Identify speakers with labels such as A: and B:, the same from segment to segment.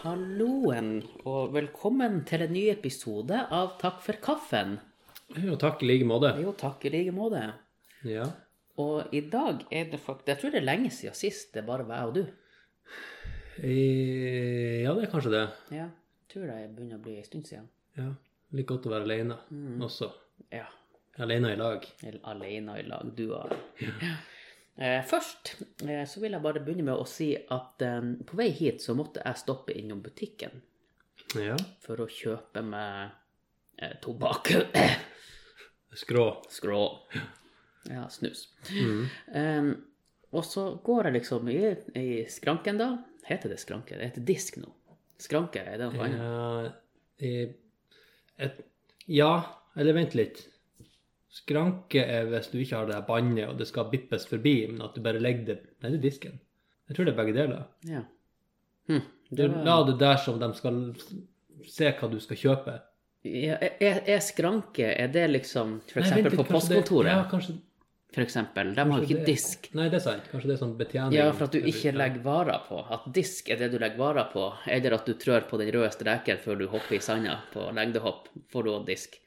A: Halloen, og velkommen til en ny episode av Takk for kaffen.
B: Jo, takk i like måte.
A: Jo, takk i like måte.
B: Ja.
A: Og i dag er det faktisk Jeg tror det er lenge siden sist det bare var jeg og du.
B: Eh, ja, det er kanskje det.
A: Ja, jeg tror det begynner å bli en stund siden.
B: Ja. Litt godt å være alene
A: Mm.
B: også.
A: Ja.
B: Alene i lag.
A: Eller alene i lag, du og Ja. Eh, Først eh, så vil jeg bare begynne med å si at eh, på vei hit så måtte jeg stoppe innom butikken
B: Ja.
A: for å kjøpe meg eh, tobakk.
B: Skrå.
A: Skrå. Ja, snus.
B: Mm.
A: Ehm, og så går jeg liksom i, i skranken, da. Heter det skranke? Det heter disk nå. Skranke, er det noe annet?
B: Ja, eh, et, ja, eller vent litt. Skranke er hvis du ikke har det der bannet, og det skal bippes forbi, men at du bare legger det nedi disken. Jeg tror det er begge deler.
A: Ja. Hm,
B: Du
A: det var-
B: la det der som de skal se hva du skal kjøpe.
A: ja, er, er skranke Er det liksom For
B: Nei, vent
A: eksempel
B: litt,
A: på
B: kanskje det-
A: postkontoret?
B: Ja, kanskje,
A: For eksempel. De har jo
B: kanskje
A: ikke
B: det-
A: disk.
B: Nei, det er sant. Kanskje det er sånn betjening.
A: Ja, for at du ikke
B: eller-
A: legger varer på. At disk er det du legger varer på. Eller at du trør på den røde streken før du hopper i sanda på lengdehopp. Får du også disk.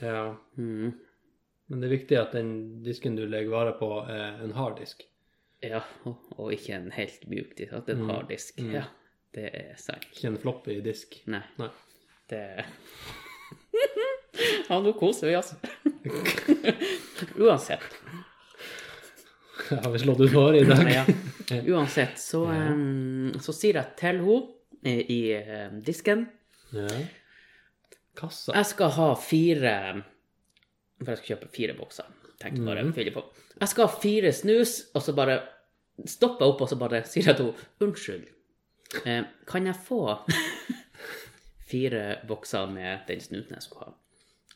B: Ja,
A: Mhm.
B: men det er viktig at den disken du legger vare på, er en hard disk.
A: Ja, og, og ikke en helt mjuk disk. At det er en
B: Mm.
A: hard disk.
B: Mm.
A: Ja, det er sant.
B: Ikke en floppy disk.
A: Nei.
B: Nei.
A: Det Ja, nå koser vi oss. Uansett.
B: Jeg har vi slått ut håret i dag?
A: Ja. Uansett, så, em, så sier jeg til henne eh, i em, disken
B: Ja. Kassa.
A: Jeg skal ha fire For jeg skal kjøpe fire bokser. Tenkte bare å
B: Mhm.
A: fylle på. Jeg skal ha fire snus, og så bare stopper jeg opp og så bare sier jeg til henne Unnskyld, eh, kan jeg få fire bokser med den snusen jeg skulle ha?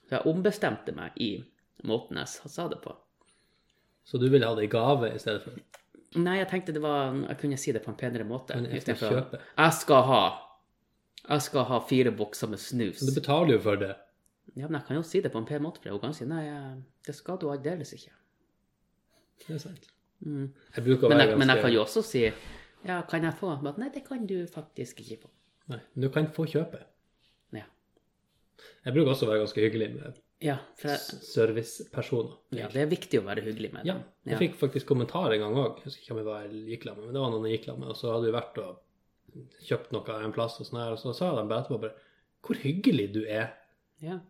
A: Så jeg ombestemte meg i måten jeg sa- sa det på.
B: Så du vil ha det i gave i stedet for?
A: Nei, jeg tenkte det var Jeg kunne si det på en penere måte.
B: Men jeg skal
A: i stedet for-
B: kjøpe.
A: Jeg skal ha Jeg skal ha fire bokser med snus.
B: Du betaler jo for det.
A: Ja, men jeg kan jo si det på en pen måte, for hun kan si nei, jeg- det skal du aldeles ikke.
B: Det er sant.
A: Mm.
B: Jeg bruker å
A: Men,
B: være
A: jeg, men jeg
B: ganske-
A: kan jo også si ja, kan jeg få? Men nei, det kan du faktisk ikke få.
B: Nei, men du kan få kjøpe.
A: Ja,
B: Jeg bruker også å være ganske hyggelig med
A: ja for jeg,
B: s- servicepersoner.
A: ja, det er viktig å være hyggelig med
B: Ja.
A: dem.
B: Jeg fikk faktisk kommentar en gang òg. Jeg husker ikke om jeg var gikk sammen med, men det var noen jeg gikk sammen med. Og så hadde vi vært og kjøpt noe en plass, og sånn her, og så sa de bare etterpå bare Hvor hyggelig du er.
A: Ja.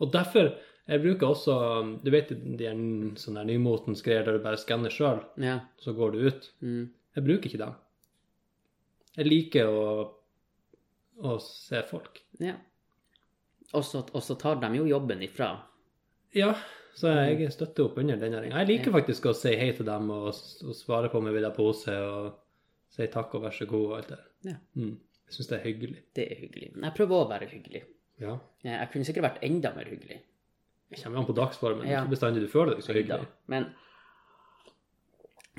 B: Og derfor jeg bruker også Du vet de er n- sånne der nymotens greier der du bare skanner sjøl,
A: ja.
B: så går du ut.
A: Mm.
B: Jeg bruker ikke dem. Jeg liker å, å se folk.
A: ja. Og så og så tar de jo jobben ifra.
B: Ja, så jeg støtter opp under den næringa. Jeg liker faktisk å si hei til dem og, og svare på om jeg vil ha pose, og si takk og vær så god og alt det der.
A: Ja.
B: Mm. Jeg syns det er hyggelig.
A: Det er hyggelig. Men jeg prøver å være hyggelig.
B: Ja.
A: Jeg jeg kunne sikkert vært enda mer hyggelig.
B: Det kommer an på dagsformen.
A: Ja.
B: Ikke bestandig du føler deg så hyggelig.
A: Neida. Men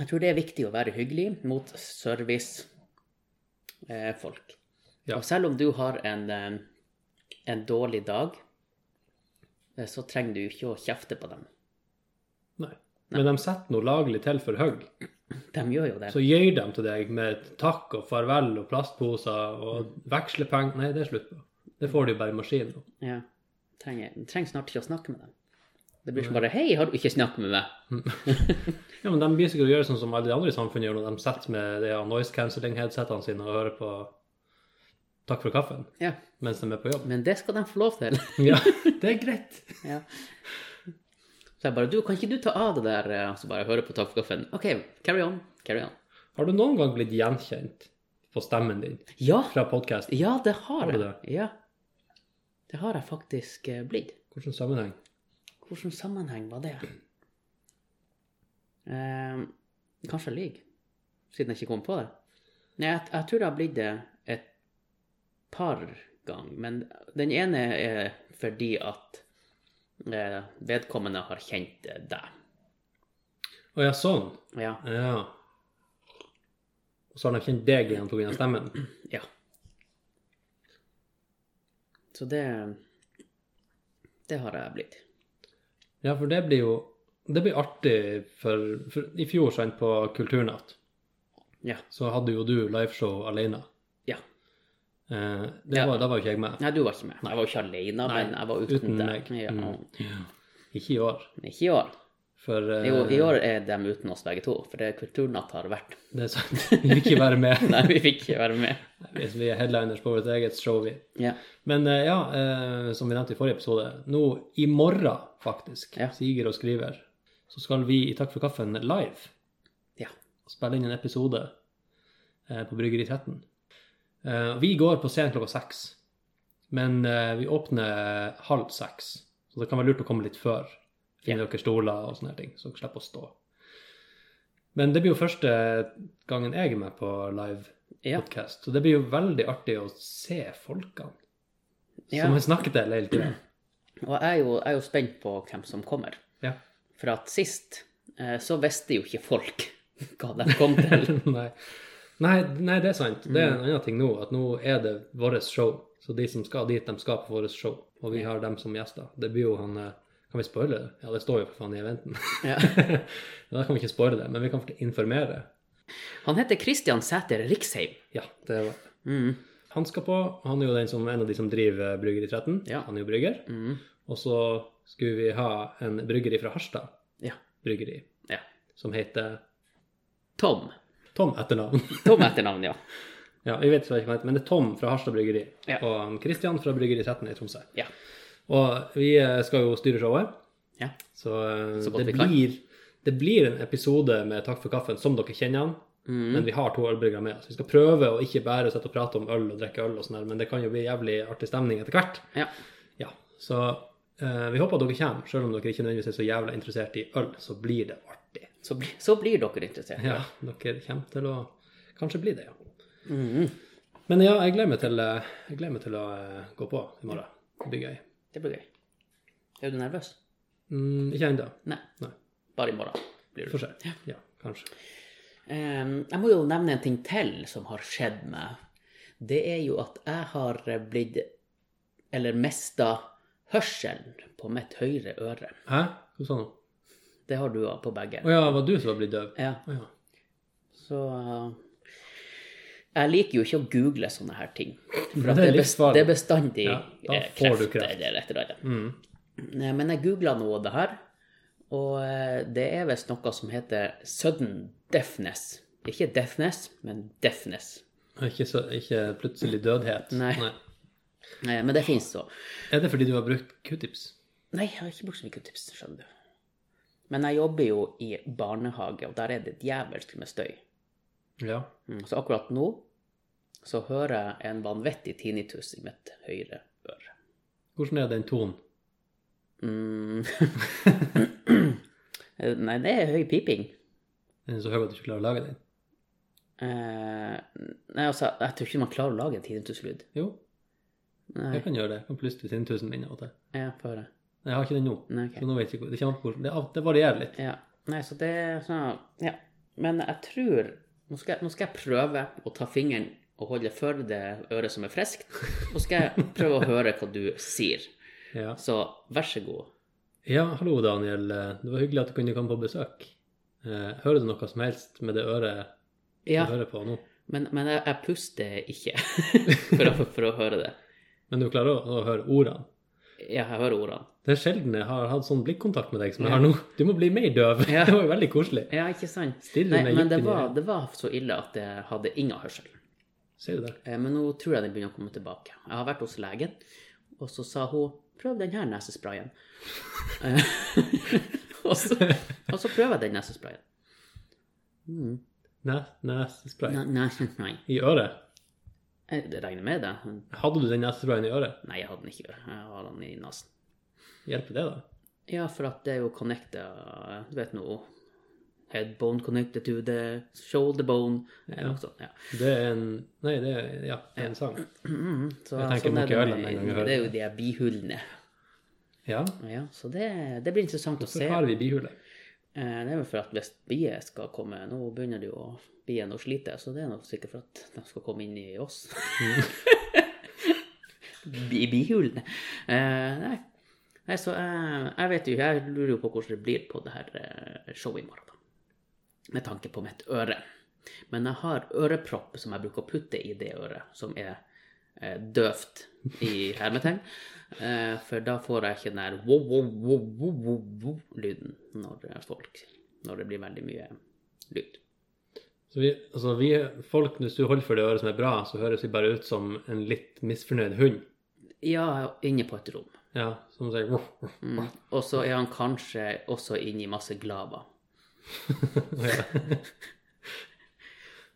A: jeg tror det er viktig å være hyggelig mot servicefolk. Eh, folk.
B: Ja.
A: Og selv om du har en, eh, en dårlig dag, eh, så trenger du ikke å kjefte på dem.
B: Nei. Men de setter noe laglig til for hugg.
A: De gjør jo det.
B: Så gjør de til deg med takk og farvel og plastposer og vekslepenger. Nei, det er slutt på. Det får du bare i maskinen.
A: Ja. Trenger, trenger snart ikke å snakke med dem. Det blir som bare 'Hei, har du ikke snakket med meg?'
B: Ja, men de blir sikkert å gjøre sånn som alle de andre i samfunnet gjør når de setter med de her noise cancelling-headsetene sine og hører på Takk for kaffen
A: Ja.
B: mens de er på jobb.
A: Men det skal de få lov til.
B: Ja, det er greit.
A: ja. Så jeg bare 'Du, kan ikke du ta av det der?' eh, Og så bare hører på Takk for kaffen. OK, carry on. Carry on.
B: Har du noen gang blitt gjenkjent på stemmen din
A: Ja,
B: fra podkast?
A: Ja, det har
B: du
A: jeg. Ja. Det har jeg faktisk eh, blitt.
B: Hvilken sammenheng?
A: Hvilken sammenheng var det? Eh, kanskje jeg lyver, siden jeg ikke kom på det. Nei, jeg, jeg tror det har blitt det et par ganger. Men den ene er fordi at eh, vedkommende har kjent eh, deg.
B: Å ja, sånn.
A: Ja.
B: Ja. Og så har de kjent deg igjen pga. stemmen.
A: Ja. Så det Det har jeg blitt.
B: Ja, for det blir jo Det blir artig, for, for i fjor, sant, på Kulturnatt,
A: Ja.
B: så hadde jo du liveshow alene.
A: Ja.
B: Eh, det
A: Ja.
B: var, da var jo ikke jeg med.
A: Nei, du var ikke med. Jeg var jo ikke alene,
B: Nei,
A: men jeg var uten,
B: uten
A: deg.
B: meg.
A: Ja.
B: Mm. Ikke i år.
A: Ikke i år.
B: For eh,
A: Jo, i år er de uten oss begge to, for det er Kulturnatt har vært.
B: det er sant. Vi vil ikke være med.
A: Nei, vi fikk ikke være med.
B: Hvis vi er headliners på vårt eget show, vi.
A: Ja.
B: Men eh, ja, eh, som vi nevnte i forrige episode, nå i morgen faktisk,
A: Ja.
B: Siger og skriver, så skal vi i Takk for kaffen live
A: Ja.
B: og spille inn en episode eh, på Bryggeri 13. Eh, vi går på scenen klokka seks, men eh, vi åpner halv seks, så det kan være lurt å komme litt før. Finne dere stoler og sånne her ting, så dere slipper å stå. Men det blir jo første gangen jeg er med på live
A: Ja.
B: podcast. Så det blir jo veldig artig å se folkene
A: Ja.
B: som jeg snakket til hele tiden.
A: Og jeg er, jo, jeg er jo spent på hvem som kommer.
B: Ja.
A: For at sist eh, så visste jo ikke folk hva de kom til.
B: nei. Nei, nei, det er sant. Det er en annen ting nå, at nå er det vårt show. Så de som skal dit, de skal på vårt show. Og vi har dem som gjester. Det blir jo han eh, Kan vi spoile det? Ja, det står jo for faen i eventen.
A: Ja.
B: da kan vi ikke spoile det, men vi kan informere.
A: Han heter Christian Sæter Riksheim.
B: Ja, det var
A: Mm.
B: Han skal på. Han er jo den som, en av de som driver Bryggeri 13.
A: Ja.
B: Han er jo brygger.
A: Mm.
B: Og så skulle vi ha en bryggeri fra Harstad
A: Ja.
B: bryggeri,
A: ja.
B: som heter
A: Tom.
B: Tom etternavn.
A: Tom etternavn, ja.
B: Ja, vi vet ikke hva han heter, men det er Tom fra Harstad Bryggeri.
A: Ja.
B: Og han Christian fra Bryggeri 13 i Tromsø.
A: Ja.
B: Og vi eh, skal jo styre showet,
A: Ja.
B: så, eh,
A: Så godt
B: det,
A: vi kan.
B: blir, det blir en episode med Takk for kaffen som dere kjenner han. Men
A: Mm.
B: vi har to ølbryggere med oss. Vi skal prøve å ikke bare sitte og prate om øl og drikke øl, og sånn her, men det kan jo bli jævlig artig stemning etter hvert.
A: Ja.
B: Ja, Så eh, vi håper at dere kommer, selv om dere ikke nødvendigvis er så jævla interessert i øl, så blir det artig.
A: Så, bli, så blir dere interessert.
B: Ja, dere kommer til å Kanskje bli det, ja.
A: Mm.
B: Men ja, jeg gleder meg til, eh, jeg gleder meg til å eh, gå på i morgen. Det blir gøy.
A: Det blir gøy. Er du nervøs?
B: Mm, ikke ennå.
A: Nei.
B: Nei.
A: Bare i morgen. Blir du.
B: Får se. Ja, kanskje.
A: Em, jeg må jo nevne en ting til som har skjedd meg. Det er jo at jeg har blitt Eller mista hørselen på mitt høyre øre.
B: Hæ? Hva sa du nå?
A: Det har du òg på begge.
B: Å ja, var du som var blitt døv?
A: Ja,
B: Å ja.
A: så eh, Jeg liker jo ikke å google sånne her ting. For
B: Men
A: at det,
B: det er
A: er best,
B: livsfarlig.
A: det er bestandig
B: Ja, da
A: eh,
B: får du
A: kreft,
B: kreft.
A: eller et eller annet.
B: Mm.
A: Nei, Men jeg googla nå det her, og eh, det er visst noe som heter sudden deafness. Ikke deafness, men deafness.
B: Ikke, så, ikke plutselig dødhet.
A: Nei. Eh, Men det fins så.
B: Er det fordi du har brukt q-tips?
A: Nei, jeg har ikke brukt så mye tips, skjønner du. Men jeg jobber jo i barnehage, og der er det djevelsk med støy.
B: Ja.
A: Mm, Så akkurat nå så hører jeg en vanvittig tinnitus i mitt høyre øre.
B: Hvordan er den tonen?
A: Mm. Eh, Nei, det er høy piping.
B: Den er så høy at du ikke klarer å lage den?
A: Eh, nei, altså, jeg tror ikke man klarer å lage en tinnituslyd.
B: Jo,
A: Nei,
B: jeg kan gjøre det. Jeg kan plutselig sinntusen min av og til.
A: jeg får høre.
B: Nei, Jeg har ikke den nå.
A: Nei, ok.
B: Så nå vet jeg ikke hvor- det, kommer an på hvordan- det, av- det varierer litt.
A: Ja. Nei, så det er sånn Ja. Men jeg tror nå skal, jeg- nå skal jeg prøve å ta fingeren og holde for det øret som er friskt, og skal jeg prøve å høre hva du sier.
B: Ja.
A: Så vær så god.
B: ja, hallo, Daniel. Det var hyggelig at du kunne komme på besøk. Eh, Hører du noe som helst med det øret du
A: Ja,
B: hører på nå?
A: men, men jeg, jeg puster ikke for å, for å høre det.
B: Men du klarer å, å høre ordene?
A: Ja, jeg hører ordene.
B: Det er sjelden jeg har hatt sånn blikkontakt med deg som jeg
A: Ja.
B: har nå. Du må bli mer døv.
A: Ja.
B: Det var jo veldig koselig.
A: Ja, ikke sant?
B: Stille
A: Nei,
B: med
A: men det
B: jukken i
A: var,
B: øret.
A: det var så ille at jeg hadde ingen hørsel.
B: Ser du det?
A: Eh, Men nå tror jeg den begynner å komme tilbake. Jeg har vært hos legen, og så sa hun 'prøv den her nesesprayen'. Eh, og, så, og så prøver jeg den nesesprayen. Mm.
B: Nes, nesespray.
A: Nei, nei, nei.
B: I øret?
A: Eh, Det regner med det.
B: Hadde du den nesesprayen i øret?
A: Nei, jeg hadde den ikke. Jeg har den i nesen.
B: Hjelper det, da?
A: Ja, for at det er jo connecta Du vet nå Headbone connected to the shoulder bone. Eller noe sånt. Ja.
B: Det er en Nei, det er, ja, det er en sang.
A: Mm, så,
B: Jeg tenker
A: sånn er
B: Monkey
A: det,
B: Island en gang jeg
A: med,
B: hørte
A: det er jo de her bihullene.
B: Ja.
A: Ja, så det, det blir interessant å
B: Så
A: se.
B: har vi bihule.
A: Eh, Det er vel for at hvis bier skal komme Nå begynner det jo å biene å slite, så det er nok sikkert for at de skal komme inn i oss. I bihulene. Eh, Nei. Nei, så eh, jeg vet jo Jeg lurer jo på hvordan det blir på det her eh, showet i morgen, da. Med tanke på mitt øre. Men jeg har ørepropp som jeg bruker å putte i det øret, som er eh, eh, døvt i hermetegn. Eh, for da får jeg ikke den der wow-wow-wow-wow-lyden når eh, folk Når det blir veldig mye lyd.
B: Så vi, altså vi folk, hvis du holder for det øret som er bra, så høres vi bare ut som en litt misfornøyd hund.
A: Ja, inne på et rom.
B: Ja, som sier «Voff, voff».
A: Mm. Og så er han kanskje også inne i masse glava.
B: Ja.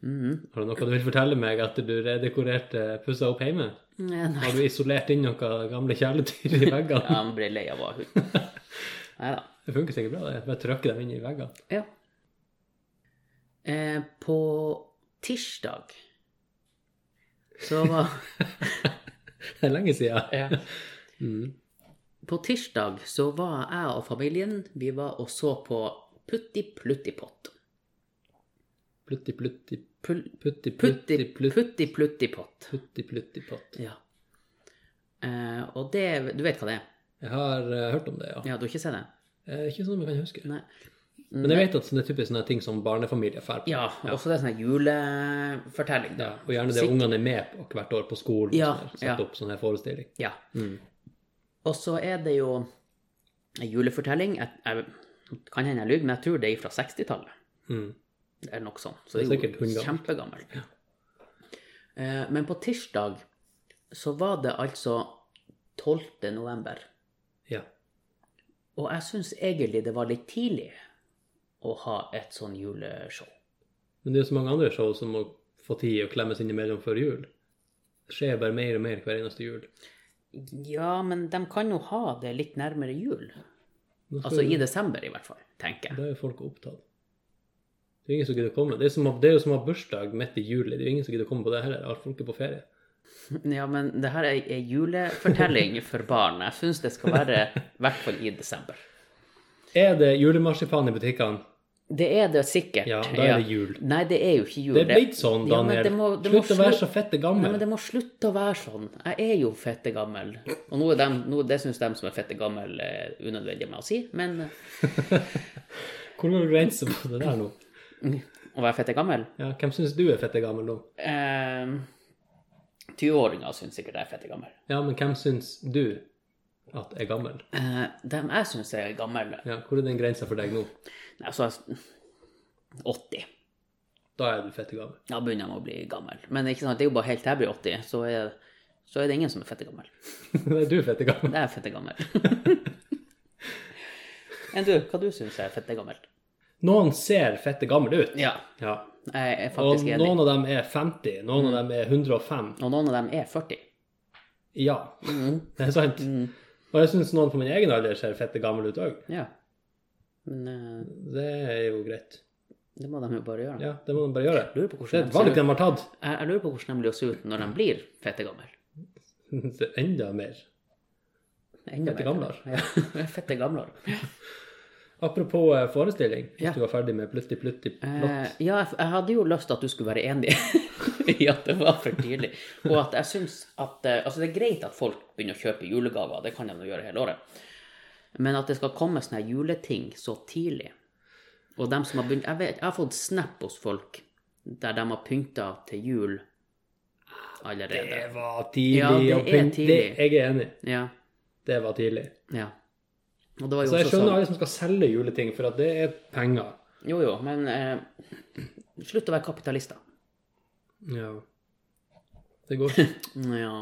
A: Mhm.
B: Har du noe du vil fortelle meg etter du redekorerte pussa opp hjemme?
A: Nei, Eh, nei.
B: Har du isolert inn noen gamle kjæledyr i
A: Ja,
B: veggene?
A: han ble lei av å ha hund. Nei da.
B: Det funker sikkert bra, det. Bare trykke dem inn i veggene.
A: Ja. Eh, på tirsdag så var
B: Det er lenge siden. Mm.
A: På tirsdag så var jeg og familien Vi var og så på Putti Pluttipott.
B: Plutti, plutti,
A: Pul
B: putti,
A: putti,
B: plutti, plutti,
A: putti Pluttipott.
B: putti, plutti, pott.
A: Ja. Eh, og det Du vet hva det er?
B: Jeg har eh, hørt om det, ja.
A: Ja, du har ikke sett det?
B: Eh, ikke sånn jeg kan huske.
A: Nei.
B: Men jeg vet at det er typisk sånne ting som barnefamilier drar på.
A: Ja, også det er sånn julefortelling, da.
B: Ja, og gjerne det
A: Sikkert.
B: ungene er med på hvert år på skolen.
A: Ja,
B: og sånn der,
A: ja.
B: Satt opp sånn her forestilling.
A: Ja.
B: Mm.
A: Og så er det jo en julefortelling. Jeg, jeg kan hende jeg lyver, men jeg tror det er fra 60-tallet.
B: Mm.
A: eller noe sånt. Så det er
B: Det er sikkert
A: jo
B: hundgammelt.
A: kjempegammelt. Eh, Men på tirsdag så var det altså 12. november.
B: Ja.
A: Og jeg syns egentlig det var litt tidlig å ha et sånn juleshow.
B: Men det er jo så mange andre show som må få tid å klemmes innimellom før jul. Det skjer bare mer og mer hver eneste jul.
A: Ja, men de kan jo ha det litt nærmere jul.
B: Nå skal
A: Altså
B: jo-
A: i desember, i hvert fall, tenker jeg.
B: Da er jo folk opptatt. Det er jo ingen som gidder å komme. Det er, som, å- det er jo som å ha bursdag midt i juli. Det er jo ingen som gidder å komme på det heller. Alle folk er på ferie.
A: Ja, men det her er en julefortelling for barn. Jeg syns det skal være i hvert fall i desember.
B: Er det julemarsipan i butikkene?
A: Det er det sikkert.
B: Ja, da er det jul.
A: Nei, det er jo ikke jul.
B: Det er blitt sånn,
A: Ja, men
B: Daniel.
A: det må- det må
B: Slutt å være
A: slu-
B: så fette
A: Nei,
B: gammel.
A: men det må slutte å være sånn. Jeg er jo fette gammel. Og nå er dem, nå, det syns de som er fette gammel, eh, unødvendig med å si. Men eh,
B: Hvor går grensen på det der nå?
A: å være fette gammel
B: Ja, hvem syns du er fette gammel nå?
A: eh, 20-åringer syns sikkert jeg er fette gammel.
B: Ja, men hvem syns du at er gammel?
A: Eh, dem jeg syns er gammel
B: Ja, hvor er den grensa for deg nå?
A: Altså 80.
B: Da er du fette gammel.
A: Da begynner de å bli gammel. Men ikke sant, det er jo bare helt til jeg blir 80, så er, så er det ingen som er fette gammel.
B: Da er du fette gammel.
A: Det er fette gammel. Enn du, hva du syns er fette gammel?
B: Noen ser fette gammel ut.
A: Ja,
B: Ja.
A: jeg er
B: Og
A: faktisk enig. Mm.
B: noen av dem er 50, noen av dem er 105.
A: Og noen av dem er 40.
B: Ja,
A: Mm.
B: det er sant.
A: Mm.
B: Og jeg syns noen på min egen alder ser fette gammel ut òg.
A: Ja. Men eh,
B: Det er jo greit.
A: det må de jo bare gjøre.
B: Ja, det må de bare gjøre.
A: Jeg, lurer på
B: Det
A: hvordan
B: er et
A: de
B: valg
A: ser ut.
B: de har tatt.
A: Jeg, jeg lurer på hvordan de blir å se ut når de blir fette gamle.
B: Det er Enda mer.
A: Enda
B: Fette
A: mer.
B: gamler.
A: Ja, fette gamler.
B: Apropos eh, forestilling, hvis
A: Ja.
B: du var ferdig med plutti plutti
A: Eh,
B: plott.
A: ja, jeg, jeg hadde jo lyst til at du skulle være enig i at det var for tidlig. Og at jeg syns at eh, Altså, det er greit at folk begynner å kjøpe julegaver, det kan de jo gjøre hele året. Men at det skal komme sånne her juleting så tidlig Og dem som har begynt Jeg, vet, jeg har fått snap hos folk der de har pynta til jul allerede.
B: Det var tidlig.
A: Ja, det
B: å
A: er
B: pynte-
A: tidlig.
B: Det, jeg er enig.
A: Ja.
B: Det var tidlig.
A: ja. Og det var jo
B: Så Altså, jeg
A: også
B: skjønner
A: sånn
B: alle som skal selge juleting, for at det er penger.
A: Jo, jo, men eh, slutt å være kapitalister.
B: Ja. Det går ikke.
A: Ja.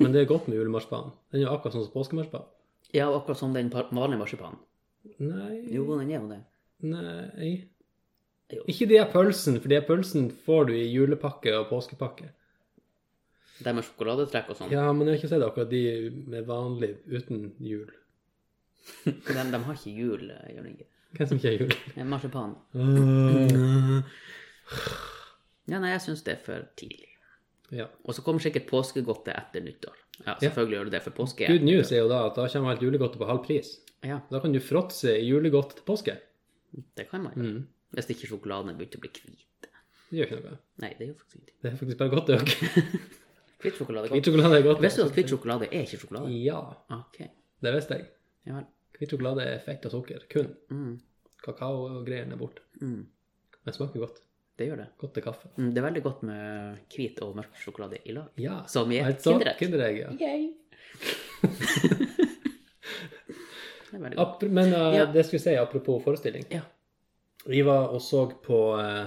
B: Men det er godt med julemarsipan. Den er jo akkurat sånn som påskemarsipan.
A: ja, akkurat som den par- vanlige marsipanen.
B: Nei
A: Jo, den er jo det.
B: Nei
A: Jo.
B: Ikke de her pølsene, for de her pølsene får du i julepakke og påskepakke.
A: Det med sjokoladetrekk og sånn.
B: Ja, men jeg har ikke sett akkurat de med vanlig uten jul.
A: De, de har ikke hjul, eh, gjør de ikke.
B: Hvem som ikke har jul?
A: Eh, Marsipan. Ja, nei, jeg syns det er for tidlig.
B: Ja.
A: Og så kommer sikkert påskegodtet etter nyttår. Ja, selvfølgelig gjør det det, for påske
B: Good news er jo da at da kommer alt julegodtet på halv pris.
A: Ja,
B: Da kan du fråtse i julegodt til påske.
A: det kan man jo.
B: Mm.
A: Hvis ikke sjokoladen er begynt å bli hvit.
B: Det gjør ikke noe.
A: Nei, det gjør faktisk ingenting.
B: Det er faktisk bare godt, det òg.
A: Hvit sjokolade er
B: Hvit
A: godt.
B: sjokolade er godt.
A: Visste du at hvit sjokolade er ikke sjokolade? Ah,
B: Ja,
A: OK.
B: det visste jeg.
A: Ja vel.
B: Hvit sjokolade er fett og sukker kun.
A: Mm.
B: Kakao og greiene er borte.
A: Mm.
B: Men smaker godt.
A: Det gjør det.
B: Godt til kaffe.
A: Mm, Det er veldig godt med hvit og mørk sjokolade i lag.
B: Ja.
A: Som i et
B: Altså,
A: kinderegg.
B: Kinderegg, ja.
A: Yay! det er veldig godt.
B: Ap men eh,
A: Ja.
B: det skulle jeg si apropos forestilling.
A: Ja.
B: Vi var og så på eh,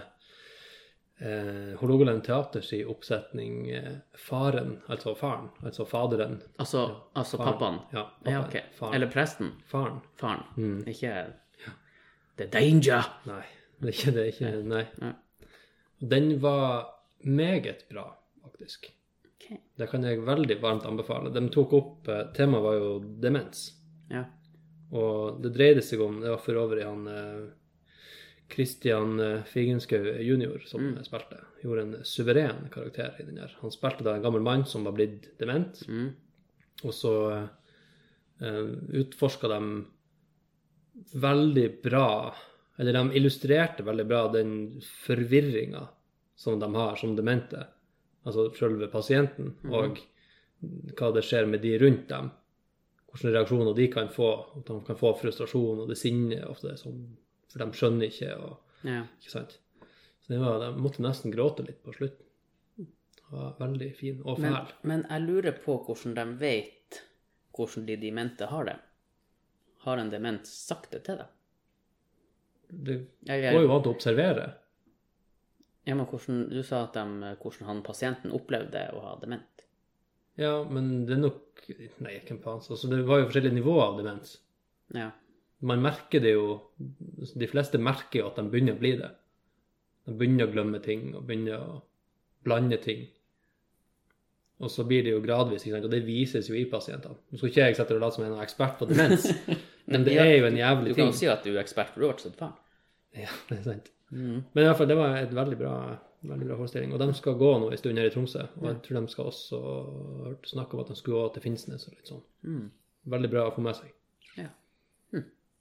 B: eh, Hålogaland Teaters i oppsetning eh, Faren, altså faren, altså faderen.
A: Altså, altså
B: Faren.
A: pappaen.
B: Ja, pappaen.
A: Ja, ok.
B: Faren.
A: Eller presten.
B: faren.
A: Faren.
B: Mm.
A: Ikke The danger!
B: Nei, det er ikke det. er Ikke, nei.
A: Nei.
B: Den var meget bra, faktisk.
A: Ok.
B: Det kan jeg veldig varmt anbefale. De tok opp eh, Temaet var jo demens.
A: Ja.
B: Og det dreide seg om Det var for øvrig han eh, Christian eh, Figenschou jr. som
A: Mm.
B: spilte. Gjorde en suveren karakter i den her. Han spilte da en gammel mann som var blitt dement,
A: Mm.
B: og så eh, utforska de veldig bra Eller de illustrerte veldig bra den forvirringa som de har som demente. Altså selve pasienten,
A: Mhm.
B: og hva det skjer med de rundt dem. Hvilke reaksjoner de kan få. At de kan få frustrasjon og det sinnet ofte, som, for de skjønner ikke. Og,
A: ja.
B: ikke sant? Så det var, de måtte nesten gråte litt på slutten. Det var veldig fin og
A: Men,
B: fæl.
A: men jeg lurer på hvordan de vet hvordan de demente har det. Har en dement sagt det til deg?
B: Det
A: Eller-
B: går jo an til å observere.
A: Ja, men hvordan, du sa at de, hvordan han pasienten opplevde å ha dement.
B: Ja, men det er nok Nei, hvem faen. Altså, det var jo forskjellige nivåer av demens.
A: Ja.
B: Man merker det jo altså, De fleste merker jo at de begynner å bli det. De begynner å glemme ting og begynner å blande ting. Og så blir det jo gradvis, ikke sant? og det vises jo i pasientene. Nå skal ikke jeg sette og late som jeg er noen ekspert på demens, men det er jo en
A: Du
B: jævlig
A: kan
B: ting.
A: jo si at du er ekspert, for du har vært støttefaren.
B: Ja, det er sant.
A: Mm.
B: Men i hvert fall, det var et veldig bra, veldig bra forestilling. Og de skal gå nå en stund her i Tromsø. Og jeg tror de skal også hørte snakk om at de skulle gå til Finnsnes og litt sånn.
A: Mm.
B: Veldig bra å få med seg.
A: Ja.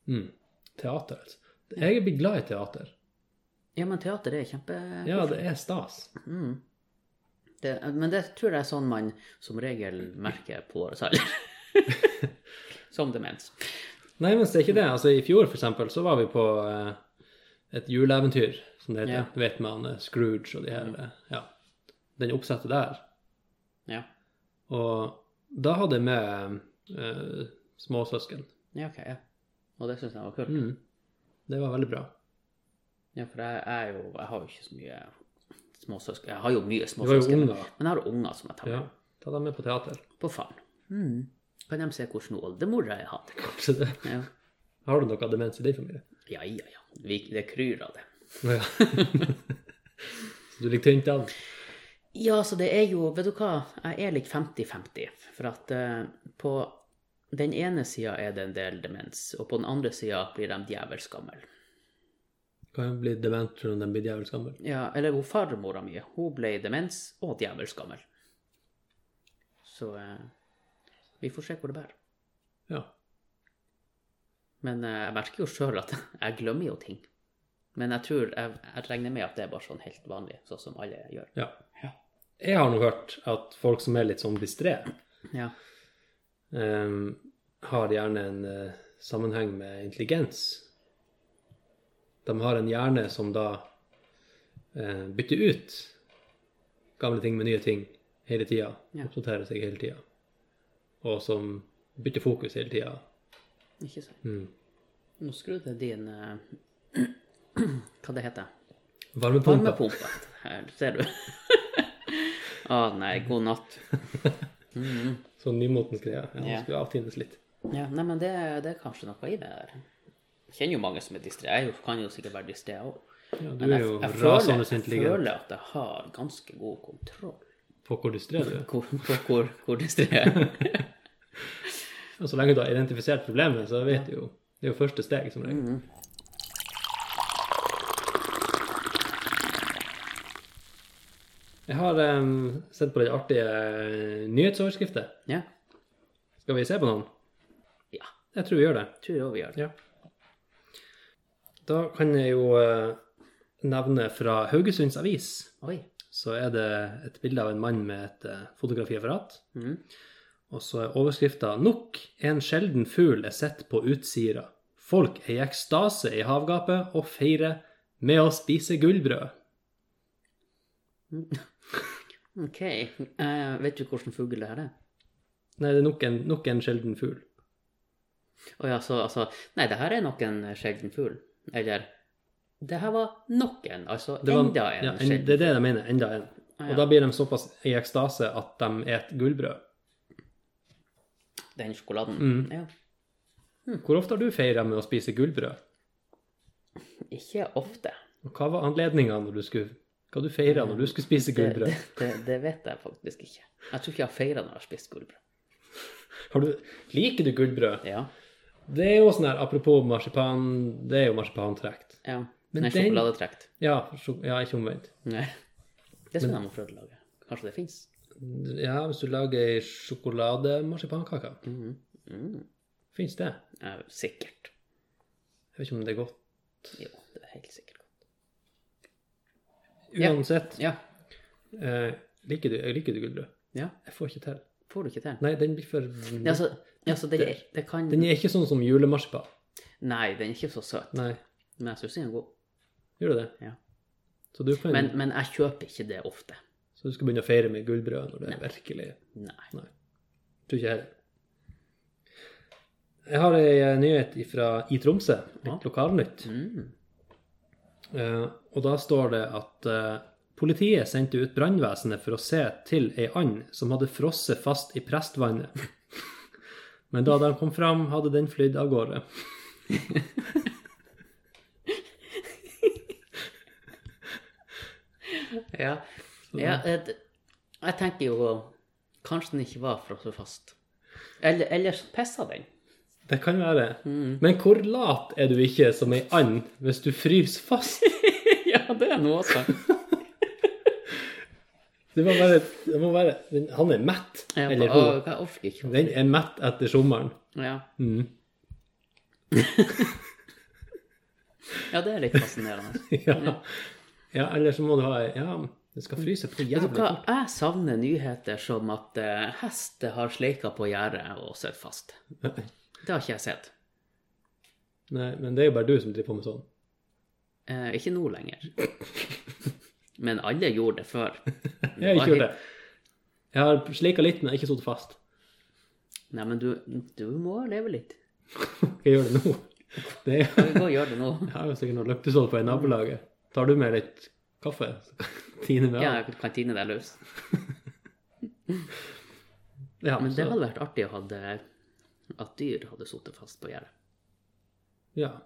B: Mm. Teater, altså. Jeg er blitt glad i teater.
A: ja, men teater det er kjempe...
B: Ja, det er stas.
A: Mm. Det, men det tror jeg er sånn man som regel merker på årets alder. som demens.
B: Nei, men det er ikke det. Altså, I fjor, for eksempel, så var vi på eh, et juleeventyr, som det heter.
A: Ja.
B: Du vet med han eh, Scrooge og de her eh, Ja. Den oppsettet der.
A: Ja,
B: Og da hadde jeg med eh, småsøsken.
A: ja ok, ja. Og det synes jeg var kult.
B: Mm. Det var veldig bra.
A: Ja, for jeg er jo Jeg har jo ikke så mye småsøsken. Jeg har jo mye
B: Du var jo
A: småsøsken.
B: ung
A: Men
B: da.
A: jeg har unger som jeg tar med
B: Ja. Ta dem med på teater.
A: på faren. Mm. Kan de se hvordan oldemora jeg hadde?
B: Kanskje det.
A: Ja,
B: Har du noe demens i din familie?
A: ja, ja. ja. Vi, det kryr av det.
B: Ja. så du ligger tynt an?
A: Ja, så det er jo Vet du hva, jeg er litt 50-50. For at eh, på den ene sida er det en del demens, og på den andre sida blir de djevelsk gammel.
B: Kan jo bli dement tror du, når de blir djevelsk gammel.
A: Ja, eller hun farmora mi, hun ble demens og djevelsk gammel. Så eh, vi får se hvor det bærer.
B: Ja.
A: Men eh, jeg merker jo sjøl at jeg glemmer jo ting. Men jeg tror, jeg, jeg regner med at det er bare sånn helt vanlig, sånn som alle gjør.
B: ja.
A: Ja.
B: Jeg har nå hørt at folk som er litt sånn distré,
A: Ja.
B: em, har gjerne en eh, sammenheng med intelligens. De har en hjerne som da eh, bytter ut gamle ting med nye ting hele tida.
A: Ja.
B: Oppdaterer seg hele tida. Og som bytter fokus hele tida.
A: Ikke sant.
B: Mm.
A: Nå skrudde din eh, Hva det heter
B: Varmepumpe.
A: Varmepumpe. Her, ser du. Å nei, god natt. Mhm.
B: Sånn nymotens greie.
A: Ja.
B: Ja, den Skulle avtines litt.
A: Ja, nei, men det, det er kanskje noe i det der. Jeg kjenner jo mange som er distré. Jeg er jo- kan jo sikkert være distré jeg òg.
B: Ja,
A: Men
B: du er
A: jeg,
B: jo
A: jeg, føler,
B: rasende
A: jeg
B: intelligent
A: føler at jeg har ganske god kontroll
B: på hvor distré du er.
A: hvor, på hvor, hvor distré jeg er.
B: Og så lenge du har identifisert problemet, så vet du jo Det er jo første steg, som regel.
A: Mm.
B: Jeg har em, sett på litt artige nyhetsoverskrifter.
A: Ja.
B: Skal vi se på noen?
A: ja.
B: Jeg tror vi gjør det.
A: Tror jeg vi gjør det.
B: Ja. Da kan jeg jo eh, nevne fra Haugesunds Avis,
A: Oi.
B: så er det et bilde av en mann med et eh, fotografiapparat.
A: Mhm.
B: Og så er overskrifta 'Nok en sjelden fugl er sett på Utsira'. Folk er i ekstase i havgapet og feirer med å spise gullbrød.
A: OK. Eh, vet du hvilken fugl det her er?
B: Nei, det er nok en, nok en sjelden fugl.
A: Å ja, så altså Nei, det her er nok en sjelden fugl. Eller Det her var nok en, altså
B: Det var-
A: enda en
B: ja, en-
A: sjelden
B: Det er det jeg mener. Enda en.
A: Ah,
B: Og
A: ja.
B: da blir de såpass i ekstase at de spiser gullbrød.
A: Den sjokoladen.
B: Mm.
A: Ja. Hmm.
B: Hvor ofte har du feira med å spise gullbrød?
A: Ikke ofte.
B: Og hva var anledninga når du skulle Hva du feira når du skulle spise
A: Det, det,
B: gullbrød?
A: det, det vet jeg faktisk ikke. Jeg tror ikke jeg har feira når jeg har spist gullbrød.
B: Har du, liker du gullbrød?
A: Ja.
B: Det er jo sånn her, apropos marsipan, det er jo marsipantrekt.
A: ja.
B: Men
A: Nei,
B: den-
A: sjokoladetrekt.
B: Ja, sjok- ja, ikke omvendt.
A: Nei. Det skulle jeg må prøve å lage. Kanskje det fins?
B: Ja, hvis du lager ei sjokolademarsipankake,
A: Mhm. Mm.
B: fins det?
A: Ja, sikkert.
B: Jeg vet ikke om det er godt.
A: Jo, det er helt sikkert godt. Ja.
B: Uansett,
A: Ja.
B: eh, liker, du, jeg liker du gullbrød?
A: ja.
B: Jeg får ikke til.
A: Får du ikke til?
B: Nei, den blir for
A: Ja, altså, ja, så det, det kan
B: Den er ikke sånn som julemarsipan.
A: Nei, den er ikke så søt,
B: Nei,
A: men jeg syns den er god.
B: gjør du det?
A: Ja.
B: Så du, kan,
A: Men, men jeg kjøper ikke det ofte.
B: så du skal begynne å feire med gullbrød når det er virkelig
A: Nei.
B: Tror ikke jeg heller. Jeg har ei eh, nyhet fra i Tromsø,
A: Ja.
B: litt lokalnytt.
A: Mm.
B: Eh, og da står det at eh, politiet sendte ut brannvesenet for å se til ei and som hadde frosset fast i prestvannet. Men da de kom fram, hadde den flydd av gårde.
A: Ja. ja jeg, jeg tenker jo Kanskje den ikke var frosset fast. Eller, eller så pissa den.
B: Det kan være.
A: Mm.
B: Men hvor lat er du ikke som ei and hvis du fryser fast?
A: ja, det er noe også.
B: Det må være, det må være den- Han er mett.
A: Jeg,
B: Eller
A: bare,
B: hun.
A: «Å, jeg orker ikke.
B: Den er mett etter sommeren.
A: Ja.
B: Mm.
A: ja, det er litt fascinerende.
B: ja. ja, eller så må du ha Ja, det skal fryse på
A: Mm. Vet
B: jævlig
A: du hva,
B: fort.
A: jeg savner nyheter som at eh, hest har sleika på gjerdet og sitter fast. Det har ikke jeg sett.
B: Nei, men det er jo bare du som driver på med sånn.
A: Eh, ikke nå lenger. Men alle gjorde det før.
B: Jeg har ikke gjort det. Jeg har sleika litt, men jeg har ikke sittet fast.
A: Nei, men du, du må leve litt.
B: Skal jeg gjøre det nå? Det er,
A: Vi går og gjør det nå.
B: jeg har jo sikkert noe løktesål på i nabolaget. Tar du med litt kaffe? Tine med
A: Ja,
B: av?
A: jeg kan tine deg løs.
B: Ja,
A: Men det
B: så-
A: hadde vært artig å hadde, at dyr hadde sittet fast på gjerdet.
B: Ja.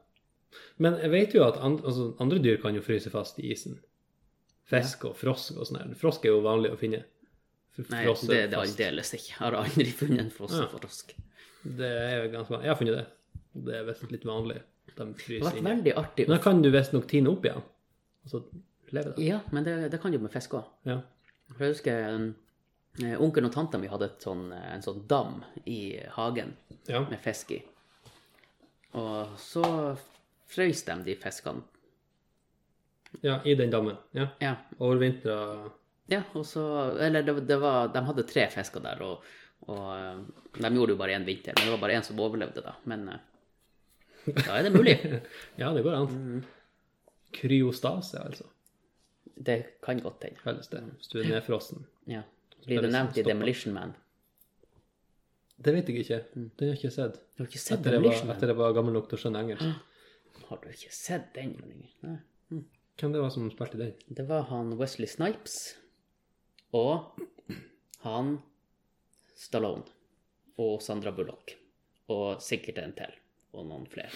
B: Men jeg vet jo at andre, altså, andre dyr kan jo fryse fast i isen. Fisk og frosk og sånn her. Frosk er jo vanlig å finne. F-
A: Nei,
B: frosse
A: det er det
B: fast.
A: aldeles ikke. Jeg har aldri funnet en frossen
B: Ja.
A: frosk.
B: Det er jo ganske vanlig. Jeg har funnet det. Det er visst litt vanlig. at De
A: Det
B: fryser
A: hadde vært
B: inn.
A: veldig artig.
B: Men da
A: å-
B: kan du visstnok tine opp igjen. Og så leve det.
A: Ja, men det, det kan du med fisk òg.
B: Ja.
A: For jeg husker eh, onkelen og tanta mi hadde et sånn, eh, en sånn dam i hagen
B: ja.
A: med fisk i. Og så frøys de de fiskene.
B: Ja, i den dammen. Ja.
A: Ja,
B: Overvintra
A: ja og så Eller det, det var, de hadde tre fisker der, og, og eh, de gjorde jo bare én vinter. Men det var bare én som overlevde, da. Men eh, da er det mulig.
B: Ja, det går an.
A: Mm.
B: Kryostase, altså.
A: Det kan godt hende.
B: Kalles det. Hvis du er nedfrossen.
A: Ja. Blir
B: liksom
A: det nevnt i Demolition Man?
B: Det vet jeg ikke. Den har jeg ikke sett.
A: Du har ikke Mm. sett
B: Etter jeg var,
A: Demolition Man?
B: etter jeg var gammel nok til å skjønne engelsk.
A: Har du ikke sett den? Jørgen? Nei.
B: Hvem det var som spilte den?
A: Det var han Wesley Snipes og han Stallone og Sandra Bullock. Og sikkert en til. Og noen flere.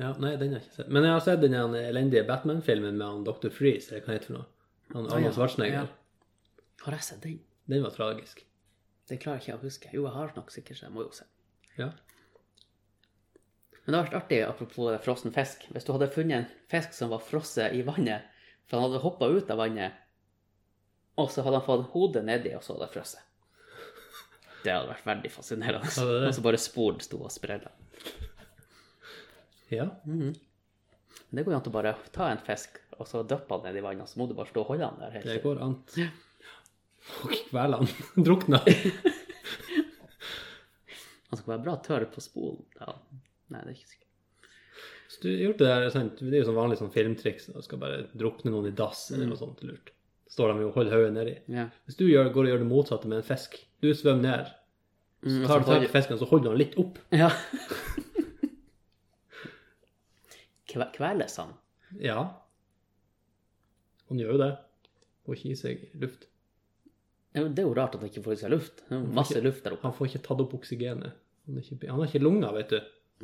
B: Ja, nei, den har jeg ikke sett. Men jeg har sett den her elendige Batman-filmen med han Dr. Freeze, eller hva heter det for noe? Han
A: Å, ja.
B: Arnold Schwarzenegger.
A: Ja. Har jeg sett den?
B: Den var tragisk.
A: Det klarer ikke jeg å huske. Jo, jeg har nok sikkert, så jeg må jo se.
B: Ja.
A: Men det har vært artig, apropos det frossen fisk. Hvis du hadde funnet en fisk som var frosset i vannet, for han hadde hoppa ut av vannet, og så hadde han fått hodet nedi, og så hadde det frosset. Det hadde vært veldig fascinerende.
B: Hadde det?
A: Og så bare sporen sto og sprella.
B: Ja.
A: Det går jo an til å bare ta en fisk, og så dyppe den ned i vannet, så må du bare stå og holde den der. helt
B: Det
A: til-
B: går an.
A: Ja.
B: Og kvelene drukna.
A: Han skal være bra tørr på spolen. Ja. Nei, det er ikke sikkert.
B: Hvis du gjorde det der, sant? det er jo sånn vanlig sånn filmtriks. Du skal bare drukne noen i dass
A: Mm.
B: eller noe sånt lurt. Står de jo og holder hodet nedi.
A: Ja.
B: Hvis du gjør, går og gjør det motsatte med en fisk, du svømmer ned, så
A: Mm, og
B: tar
A: så
B: du tak
A: holder-
B: i fisken, så holder du den litt opp.
A: Ja. Kve- Kveles han?
B: Ja. Hun gjør jo det. Hun kiser seg i luft.
A: Ja, men Det er jo rart at han ikke får i seg luft. Det er jo masse luft der oppe.
B: Han får ikke tatt opp oksygenet. Han har ikke, han har ikke lunger, vet du.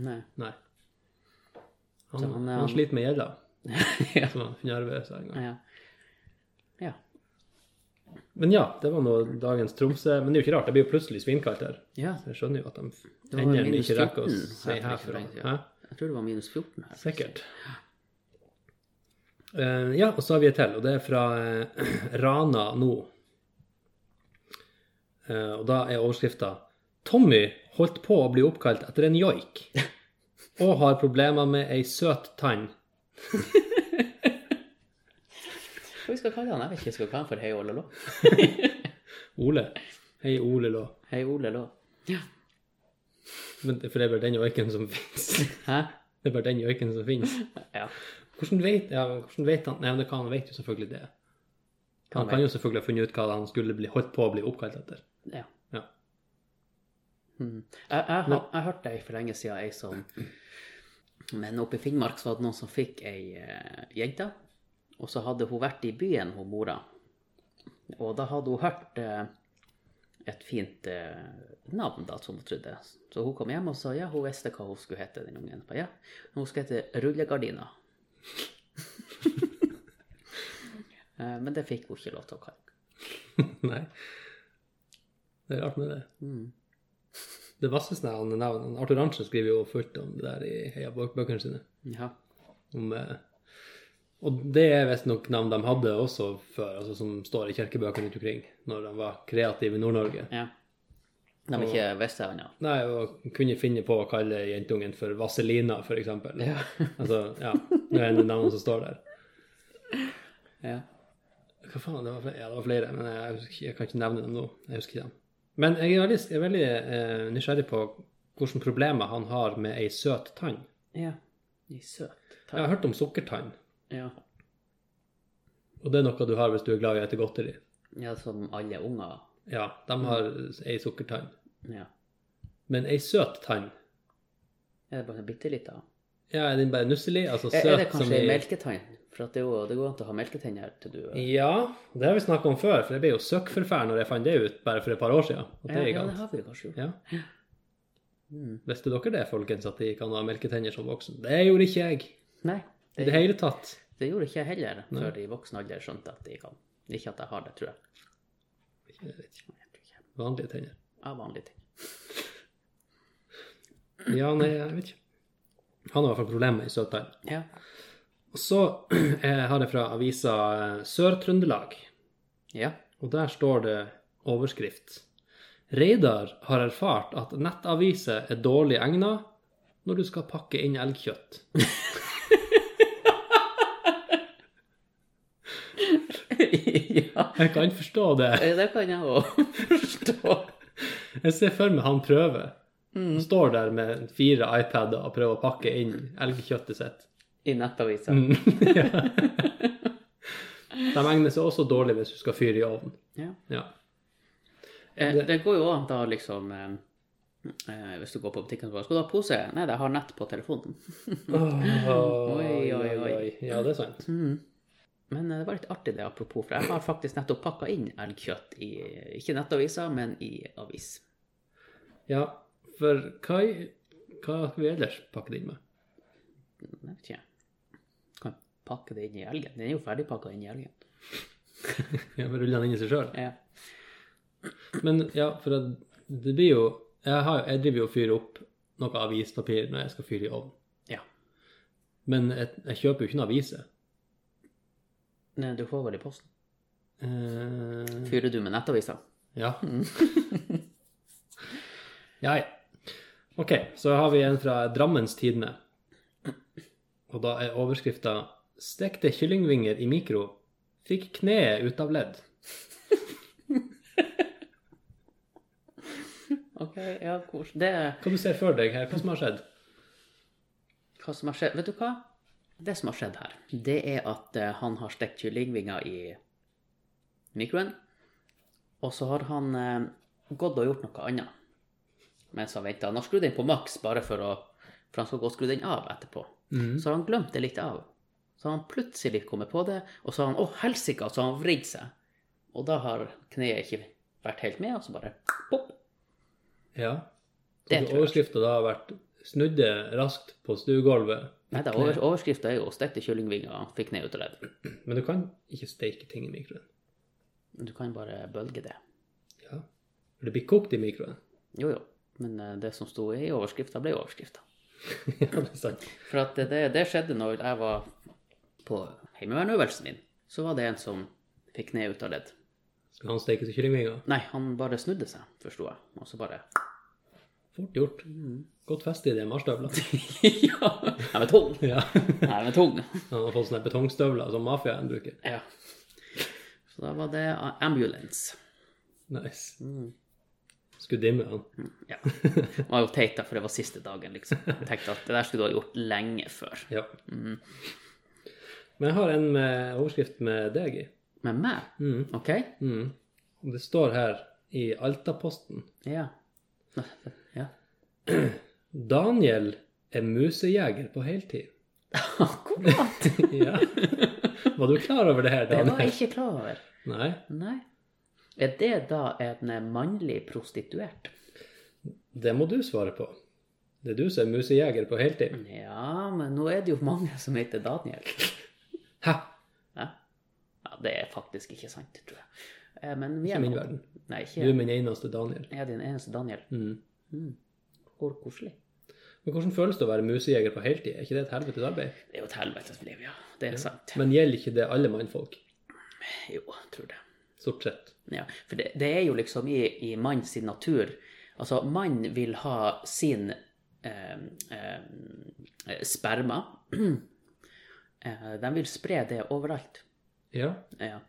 A: Nei.
B: Nei. Han,
A: Så han
B: han,
A: er-
B: sliter med gjelda,
A: Sånn, ja.
B: som han nerver seg en gang.
A: ja. Ja.
B: Men ja, det var nå dagens Tromsø. Men det er jo ikke rart, det blir jo plutselig svinkaldt her.
A: Ja.
B: Så jeg skjønner jo at de
A: var
B: endelig
A: minus
B: ikke rekker å
A: 14 her
B: si
A: for ikke
B: herfra.
A: lenge siden.
B: Hæ?
A: Jeg tror det var minus 14 her.
B: Sikkert. Eh, ja, og så har vi et til, og det er fra eh, Rana nå. Eh, og da er overskrifta 'Tommy holdt på å bli oppkalt etter en joik' og har problemer med ei søt tann.
A: Hva vi skal kalle han? Jeg vet ikke hva vi skal kalle han for Hei Ole Lå.
B: Ole. Hei, Ole Lå.
A: Hei Ole Lå. Ja.
B: Men det- For det er bare den joiken som fins.
A: Hæ?
B: Det er bare den joiken som fins.
A: Ja.
B: Hvordan vet, ja, men hvordan vet han Nei, men det kan han vet jo selvfølgelig det. Han
A: han
B: kan jo selvfølgelig ha funnet ut hva han skulle bli holdt på å bli oppkalt etter.
A: Ja.
B: Ja.
A: Mm. Jeg, jeg, jeg, jeg hørte ei for lenge siden, ei som Men oppe i Finnmark så var det noen som fikk ei eh, jente. Og så hadde hun vært i byen, hun mora. Og da hadde hun hørt eh, et fint eh, navn, da, som hun trodde. Så hun kom hjem og sa ja, hun visste hva hun skulle hete, den ungen. Ba, Ja, hun skulle hete Rullegardina. Eh, Men det fikk hun ikke lov til å kalle.
B: Nei. Det er rart med det.
A: Mm.
B: Det vasseste av alle navn. Arthur Arntzen skriver jo fullt om det der i Heia bøkene sine.
A: Ja.
B: Om, eh, og det er visstnok navn de hadde også før, altså som står i kirkebøkene rundt omkring, når de var kreative i Nord-Norge.
A: Ja. De er ikke visste annet.
B: Nei, og kunne finne på å kalle jentungen for Vaselina, for eksempel.
A: Ja.
B: Altså, ja. Det er en av navnene som står der.
A: Ja.
B: Hva faen, det var flere, ja, det var flere men jeg, husker, ikke- jeg kan ikke nevne dem nå. Jeg husker ikke dem. Men jeg er veldig, jeg er veldig eh, nysgjerrig på hvilke problemer han har med ei søt tann.
A: ja. De er søte.
B: Jeg har hørt om sukkertann,
A: Ja.
B: og det er noe du har hvis du er glad i å spise godteri.
A: ja, som alle unger.
B: Ja, de
A: Mm.
B: har ei sukkertann.
A: Ja.
B: Men ei søt tann,
A: Er det bare en bitte lita?
B: ja, er den bare nusselig? Altså søt
A: Er er det kanskje
B: i-
A: ei melketann? For at det, er jo, det går an til å ha melketenner til du eh.
B: Ja, det har vi snakka om før, for jeg ble jo søkkforferd når jeg fant det ut bare for et par år siden. At det
A: ja,
B: er
A: ja,
B: galt.
A: det har vi jo kanskje gjort.
B: Ja.
A: Mm.
B: Visste dere det, folkens, at de kan ha melketenner som voksen? Det gjorde ikke jeg
A: Nei, det,
B: i det hele tatt.
A: det gjorde ikke jeg heller
B: Nei.
A: før i voksen alder skjønte at de kan. Ikke at jeg har det, tror jeg.
B: Jeg vet ikke.
A: Jeg tror ikke.
B: Vanlige tenner.
A: Av vanlige ting.
B: Ja, nei, jeg vet ikke. Han har i hvert fall problemer med ei søt tann.
A: Ja.
B: Og så eh, har jeg fra avisa eh, Sør-Trøndelag,
A: ja.
B: og der står det overskrift Reidar har erfart at nettaviser er dårlig egna når du skal pakke inn elgkjøtt.
A: ja.
B: Jeg kan forstå det.
A: Det kan jeg òg forstå.
B: Jeg ser for meg han prøver.
A: Mm.
B: Han står der med fire iPader og prøver å pakke inn elgkjøttet sitt.
A: I nettavisa.
B: Mm. ja. De egner seg også dårlig hvis du skal fyre i ovnen.
A: Ja.
B: Ja.
A: Eh,
B: Det-
A: det går jo an da liksom eh, eh, Hvis du går på butikken og bare 'Skal du ha pose?' Nei, jeg har nett på telefonen.
B: oi,
A: oi, oi.
B: Ja, det er sant.
A: Men eh, det var litt artig det, apropos, for jeg har faktisk nettopp pakka inn elgkjøtt i ikke nettavisa, men i avis.
B: Ja, for hva, hva skal vi ellers pakke det inn med?
A: Jeg vet ikke. Kan pakke det inn i elgen. Den er jo ferdigpakka inn i elgen.
B: Ja, vi ruller den inn i seg sjøl.
A: Ja.
B: Men ja, for det, det blir jo jeg, har, jeg driver jo og fyrer opp noe avispapir når jeg skal fyre i ovnen.
A: ja.
B: Men jeg, jeg kjøper jo ikke noen aviser.
A: Nei, du får vel i posten.
B: Eh,
A: Fyrer du med nettavisa?
B: Ja. ja, ja. Ok, så har vi en fra Drammens Tidende. Og da er overskrifta 'Stekte kyllingvinger i mikro. Fikk kneet ut av ledd'.
A: OK, ja, kos. Det
B: Hva du ser for deg her? Hva som har skjedd?
A: hva som har skjedd. Vet du hva? Det som har skjedd her, det er at eh, han har stekt kyllingvinger i mikroen. Og så har han eh, gått og gjort noe annet mens han venta. Han har skrudd den på maks bare for, å, for han skal gå og skru den av etterpå.
B: Mhm.
A: Så har han glemt det litt av. Så har han plutselig kommet på det, og så har han å, helsike, og så har han vridd seg. Og da har kneet ikke vært helt med, og så bare pop.
B: Ja.
A: Det tror
B: Altså,
A: jeg.
B: Overskrifta da har vært 'Snudde raskt på stuegulvet'.
A: Nei, da, over, overskrifta er jo 'stekte kyllingvinger fikk kne ut av ledd'.
B: Men du kan ikke steike ting i mikroen.
A: Du kan bare bølge det.
B: Ja. For det blir kokt i mikroen.
A: Jo, jo. Men eh, det som sto i overskrifta, ble overskrifta.
B: ja, det er sant.
A: For at det- det, det skjedde når jeg var på heimevernsøvelsen min. Så var det en som fikk kne ut av ledd.
B: Skal han steike til kyllingvinger?
A: Nei, han bare snudde seg, forsto jeg. Og så bare
B: Fort gjort. Godt feste i de marstøvla.
A: Ja! Jeg var tung!
B: ja.
A: Jeg var tung.
B: Han har fått sånne betongstøvler som mafiaen bruker.
A: Ja. Så da var det ambulance.
B: Nice.
A: Mm.
B: Skulle dimme han.
A: Ja. Det var jo teit, da, for det var siste dagen, liksom. Jeg tenkte at det der skulle du ha gjort lenge før.
B: Ja.
A: Mm.
B: Men jeg har en med overskrift med deg i.
A: Men meg?
B: Mm.
A: OK?
B: Mm. Og det står her i Altaposten
A: Ja. Ja.
B: Daniel er musejeger på heltid.
A: Akkurat!
B: ja. Var du klar over det her,
A: Det var
B: Daniel?
A: jeg ikke klar over.
B: Nei.
A: Nei. Er det da en mannlig prostituert?
B: Det må du svare på. Det er du som er musejeger på heltid.
A: Ja, men nå er det jo mange som heter Daniel.
B: Hæ?
A: Ja, ja det er faktisk ikke sant, tror jeg. Eh, Men vi
B: Ikke
A: er
B: min
A: nå-
B: verden.
A: Nei,
B: Du er
A: ikke
B: min eneste Daniel.
A: jeg er din eneste Daniel.
B: Mm.
A: Mm. Hvor koselig.
B: Men hvordan føles det å være musejeger på heltid? Er ikke det et helvetes arbeid?
A: Det er jo et helvetes liv, ja. Det er sant.
B: Men gjelder ikke det alle mannfolk?
A: Jo, jeg tror det.
B: Stort sett.
A: Ja, for det, det er jo liksom i, i manns sin natur. Altså, mann vil ha sin eh, eh, sperma. eh, de vil spre det overalt.
B: Ja.
A: Ja.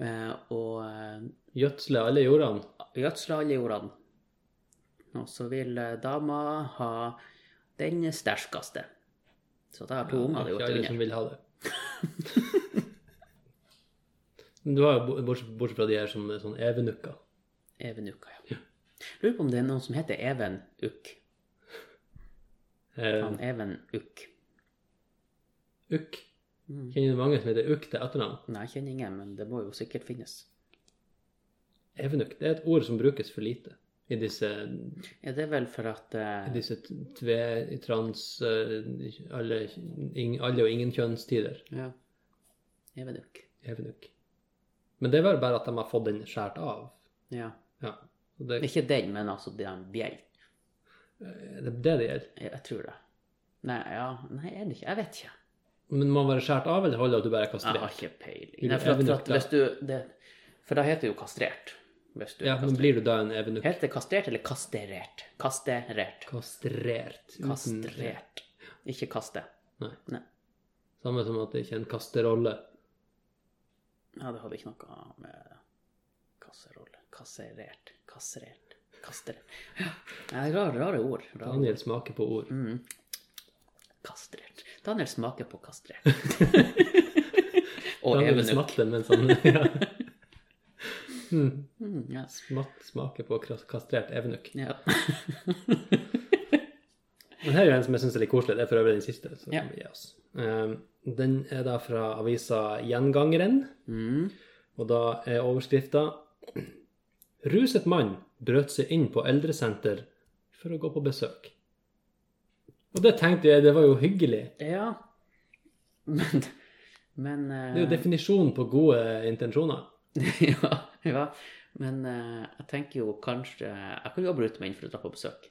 A: Eh, og eh,
B: Gjødsle alle jordene.
A: gjødsle alle jordene. Og så vil eh, dama ha den sterkeste. Så da har to unger det
B: ikke
A: gjort
B: alle
A: under.
B: som vil ha det. Men du har jo, bo- bortsett, bortsett fra de her som er sånn evenukker.
A: Even Ukka, ja. Lurer på om det er noen som heter Even Ukk.
B: Eh,
A: Han Even Ukk.
B: ukk.
A: Mm.
B: Kjenner du mange som heter ukk til etternavn?
A: Nei, jeg kjenner ingen, men det må jo sikkert finnes.
B: Evenukk, det er et ord som brukes for lite i disse,
A: Ja, det er vel for at eh,
B: i disse t- tve, trans, eh, alle, ing, alle og ingen kjønnstider.
A: Ja. Evenuk.
B: Evenukk. Men det er vel bare at de har fått den skåret av.
A: Ja.
B: Ja. Så Det, eh,
A: Ikke den, men altså den bjell.
B: det er det det gjelder.
A: Jeg, jeg tror det. Nei, ja, nei, er det ikke? Jeg vet ikke.
B: Men må man være skåret av, eller holder det at du bare
A: Jeg
B: er
A: har
B: kastrert?
A: ikke peiling.
B: Blir
A: Nei,
B: du
A: for, at, for, at,
B: evenukk,
A: hvis du, det, for da heter det jo kastrert. Hvis du
B: Ja, men blir du da en evenukk?
A: Heter det kastrert eller kasterert? Kasterert.
B: Kastrert. uten-
A: Kastrert. Ikke kaste.
B: Nei.
A: Nei.
B: Samme som at det ikke er en kasterolle.
A: Ja, det hadde ikke noe med kasserolle Kasserert. Kastrert. Kastrert. Ja, rare, rare ord. Rare ord.
B: Daniel smaker på ord.
A: Mm. Kastrert. Daniel smaker på kastrert. og
B: Daniel
A: evenukk.
B: smatter mens han sånn, ja. Hmm.
A: Mm, ja.
B: Smatt smaker på kras- kastrert evenukk.
A: Ja.
B: Men her er jo en som jeg syns er litt koselig. Det er for øvrig den siste. Så
A: Ja.
B: kan vi gi oss. Um, den er da fra avisa Gjengangeren,
A: Mm.
B: og da er overskrifta Ruset mann brøt seg inn på eldresenter for å gå på besøk. Og det tenkte jeg, det var jo hyggelig.
A: ja. Men, men eh,
B: Det er jo definisjonen på gode intensjoner.
A: ja, ja. Men eh, jeg tenker jo kanskje Jeg kan jo bryte meg inn for å dra på besøk.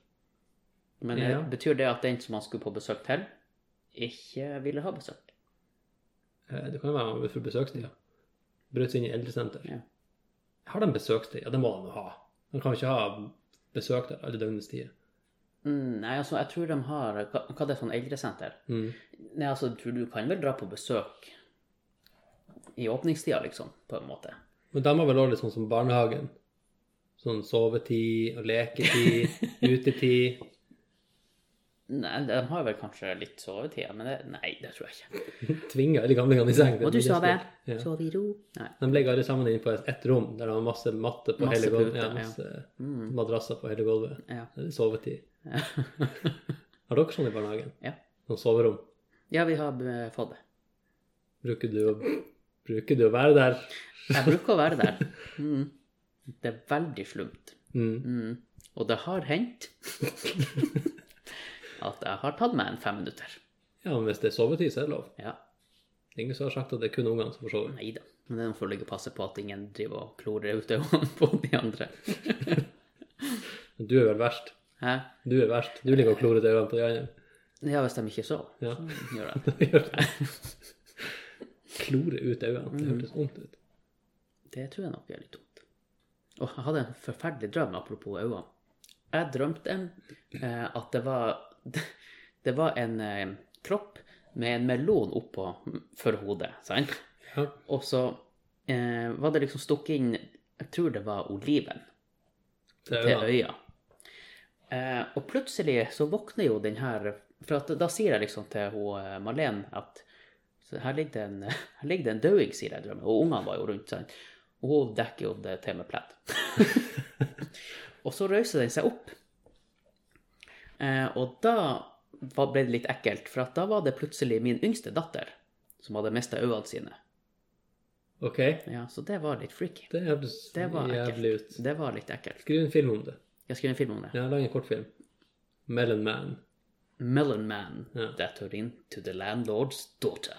A: Men eh,
B: Ja.
A: betyr det at den som han skulle på besøk til, ikke ville ha besøk?
B: Eh, Det kan jo være overfor besøkstida. Brøt seg inn i eldresenter.
A: Ja.
B: Har de besøkstid? Ja, det må de jo ha. De kan jo ikke ha besøk der alle døgnets tider.
A: Mm, nei, altså, jeg tror de har Hva, hva det er sånn eldresenter?
B: Mm.
A: Nei, altså, du, du kan vel dra på besøk i åpningstida, liksom, på en måte.
B: Men de har vel også litt sånn som barnehagen. Sånn sovetid og leketid, utetid.
A: Nei, de har vel kanskje litt sovetid, men det, nei, det tror jeg ikke.
B: Tvinga alle gamlingene i seng.
A: Må du sove?
B: Ja.
A: Sove i ro? Nei.
B: De legger alle sammen inn på et- ett rom der det var masse matte på
A: Masse
B: hele gulvet.
A: puter,
B: Ja,
A: ja.
B: masse madrasser på hele gulvet.
A: Ja.
B: Det er sovetid.
A: Ja.
B: Har dere sånn i barnehagen?
A: Ja.
B: Noen soverom?
A: ja, vi har eh, fått det.
B: Bruker du å, bruker du å være der?
A: Jeg bruker å være der. Mm. Det er veldig slumt.
B: Mm.
A: Mm. Og det har hendt at jeg har tatt meg en fem minutter.
B: Ja, men hvis det er sovetid, så er det lov.
A: Ja,
B: Det er Ingen som har sagt at det er kun ungene som får sove.
A: nei da. Men det er noe for å ligge og passe på at ingen driver og klorer ut øynene på de andre.
B: Men Du er vel verst.
A: Hæ?
B: Du er verst. Du liker å klore til øynene på de andre.
A: Ja, hvis de ikke sover,
B: Ja.
A: så gjør jeg det.
B: Gjør det. Klore ut øynene. Det hørtes
A: Mm.
B: vondt ut.
A: Det tror jeg nok er litt dumt. Og jeg hadde en forferdelig drøm, apropos øyne. Jeg drømte eh, at det var Det var en eh, kropp med en melon oppå mm, for hodet, sant?
B: Ja.
A: Og så eh, var det liksom stukket inn Jeg tror det var oliven
B: Til
A: til
B: øynene.
A: øya. Eh, og plutselig så våkner jo den her For at, da sier jeg liksom til hun, eh, Marlen at så her ligger det en, her ligger det en døing, sier jeg i drømmen. Og ungene var jo rundt. Sant? Og hun dekker jo det til med pledd. og så røyser den seg opp. Eh, og da var, ble det litt ekkelt, for at da var det plutselig min yngste datter som hadde mista øynene sine.
B: Ok.
A: Ja, Så det var litt freaky.
B: Det hørtes
A: Det var
B: jævlig
A: ekkelt.
B: ut.
A: Det var litt ekkelt.
B: Skriv en film om det.
A: Jeg skrev en film om det.
B: Ja, lag en kortfilm. Melon Man.
A: Melon Man
B: Ja.
A: that are into the landlord's daughter.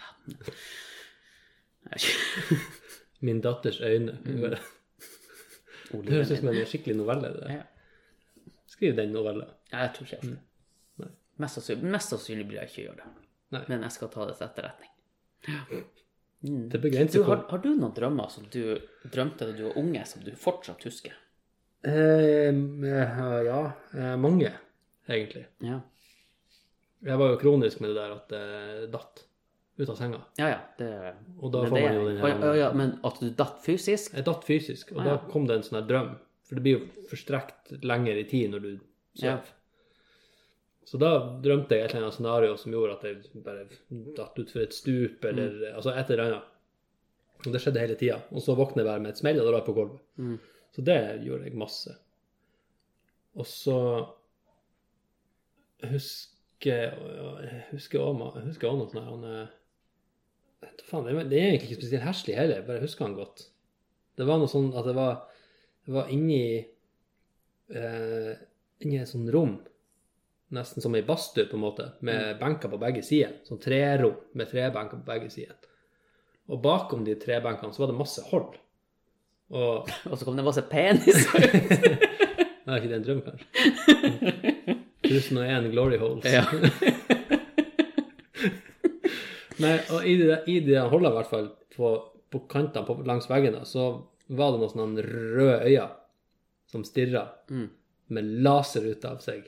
B: Min datters øyne. kan vi gjøre. Det høres ut
A: Oliven
B: som
A: min.
B: en skikkelig novelle. det der.
A: Ja.
B: Skriv den novella.
A: Nei, jeg tror ikke jeg
B: Mm.
A: gjør det.
B: Nei.
A: Mest sannsynlig, mest sannsynlig blir jeg ikke gjøre det.
B: Nei.
A: Men jeg skal ta det til etterretning. Du,
B: Det
A: har,
B: begrenser hvor
A: har du noen drømmer som du drømte da du var unge, som du fortsatt husker?
B: Ja, eh, mange, egentlig.
A: Ja,
B: Jeg var jo kronisk med det der at det datt ut av senga.
A: ja. ja det,
B: Og da
A: men
B: får
A: det-
B: man jo den her-
A: Å, ja, ja, Men at du datt fysisk?
B: Jeg datt fysisk, og
A: Ah, ja.
B: da kom det en sånn her drøm. For det blir jo forstrekt lenger i tid når du
A: Ja.
B: sover. Så da drømte jeg et eller annet scenario som gjorde at jeg bare datt utfor et stup, eller
A: Mm.
B: altså et eller annet. Og det skjedde hele tida. Og så våkner jeg bare med et smell, og da lå jeg på gulvet.
A: Mm.
B: Så det gjorde jeg masse. Og så husker jeg husker også ma- jeg husker også noe sånt her, han eh, vet du faen, det er- det er egentlig ikke spesielt herselig heller, jeg bare husker han godt. Det var noe sånn at jeg var, jeg var inni eh, inni et sånt rom, nesten som ei badstue, på en måte, med benker på begge sider. Sånn trerom med trebenker på begge sider. Og bakom de trebenkene så var det masse hold. Og
A: Og så kom det masse penis?
B: er ikke det en drøm, kanskje? 1001 glory holes.
A: ja.
B: Nei, og i de, i de holdene, i hvert fall, på, på kantene på, langs veggene, så var det noen sånne røde øyne som stirra
A: Mm.
B: med laser ut av seg.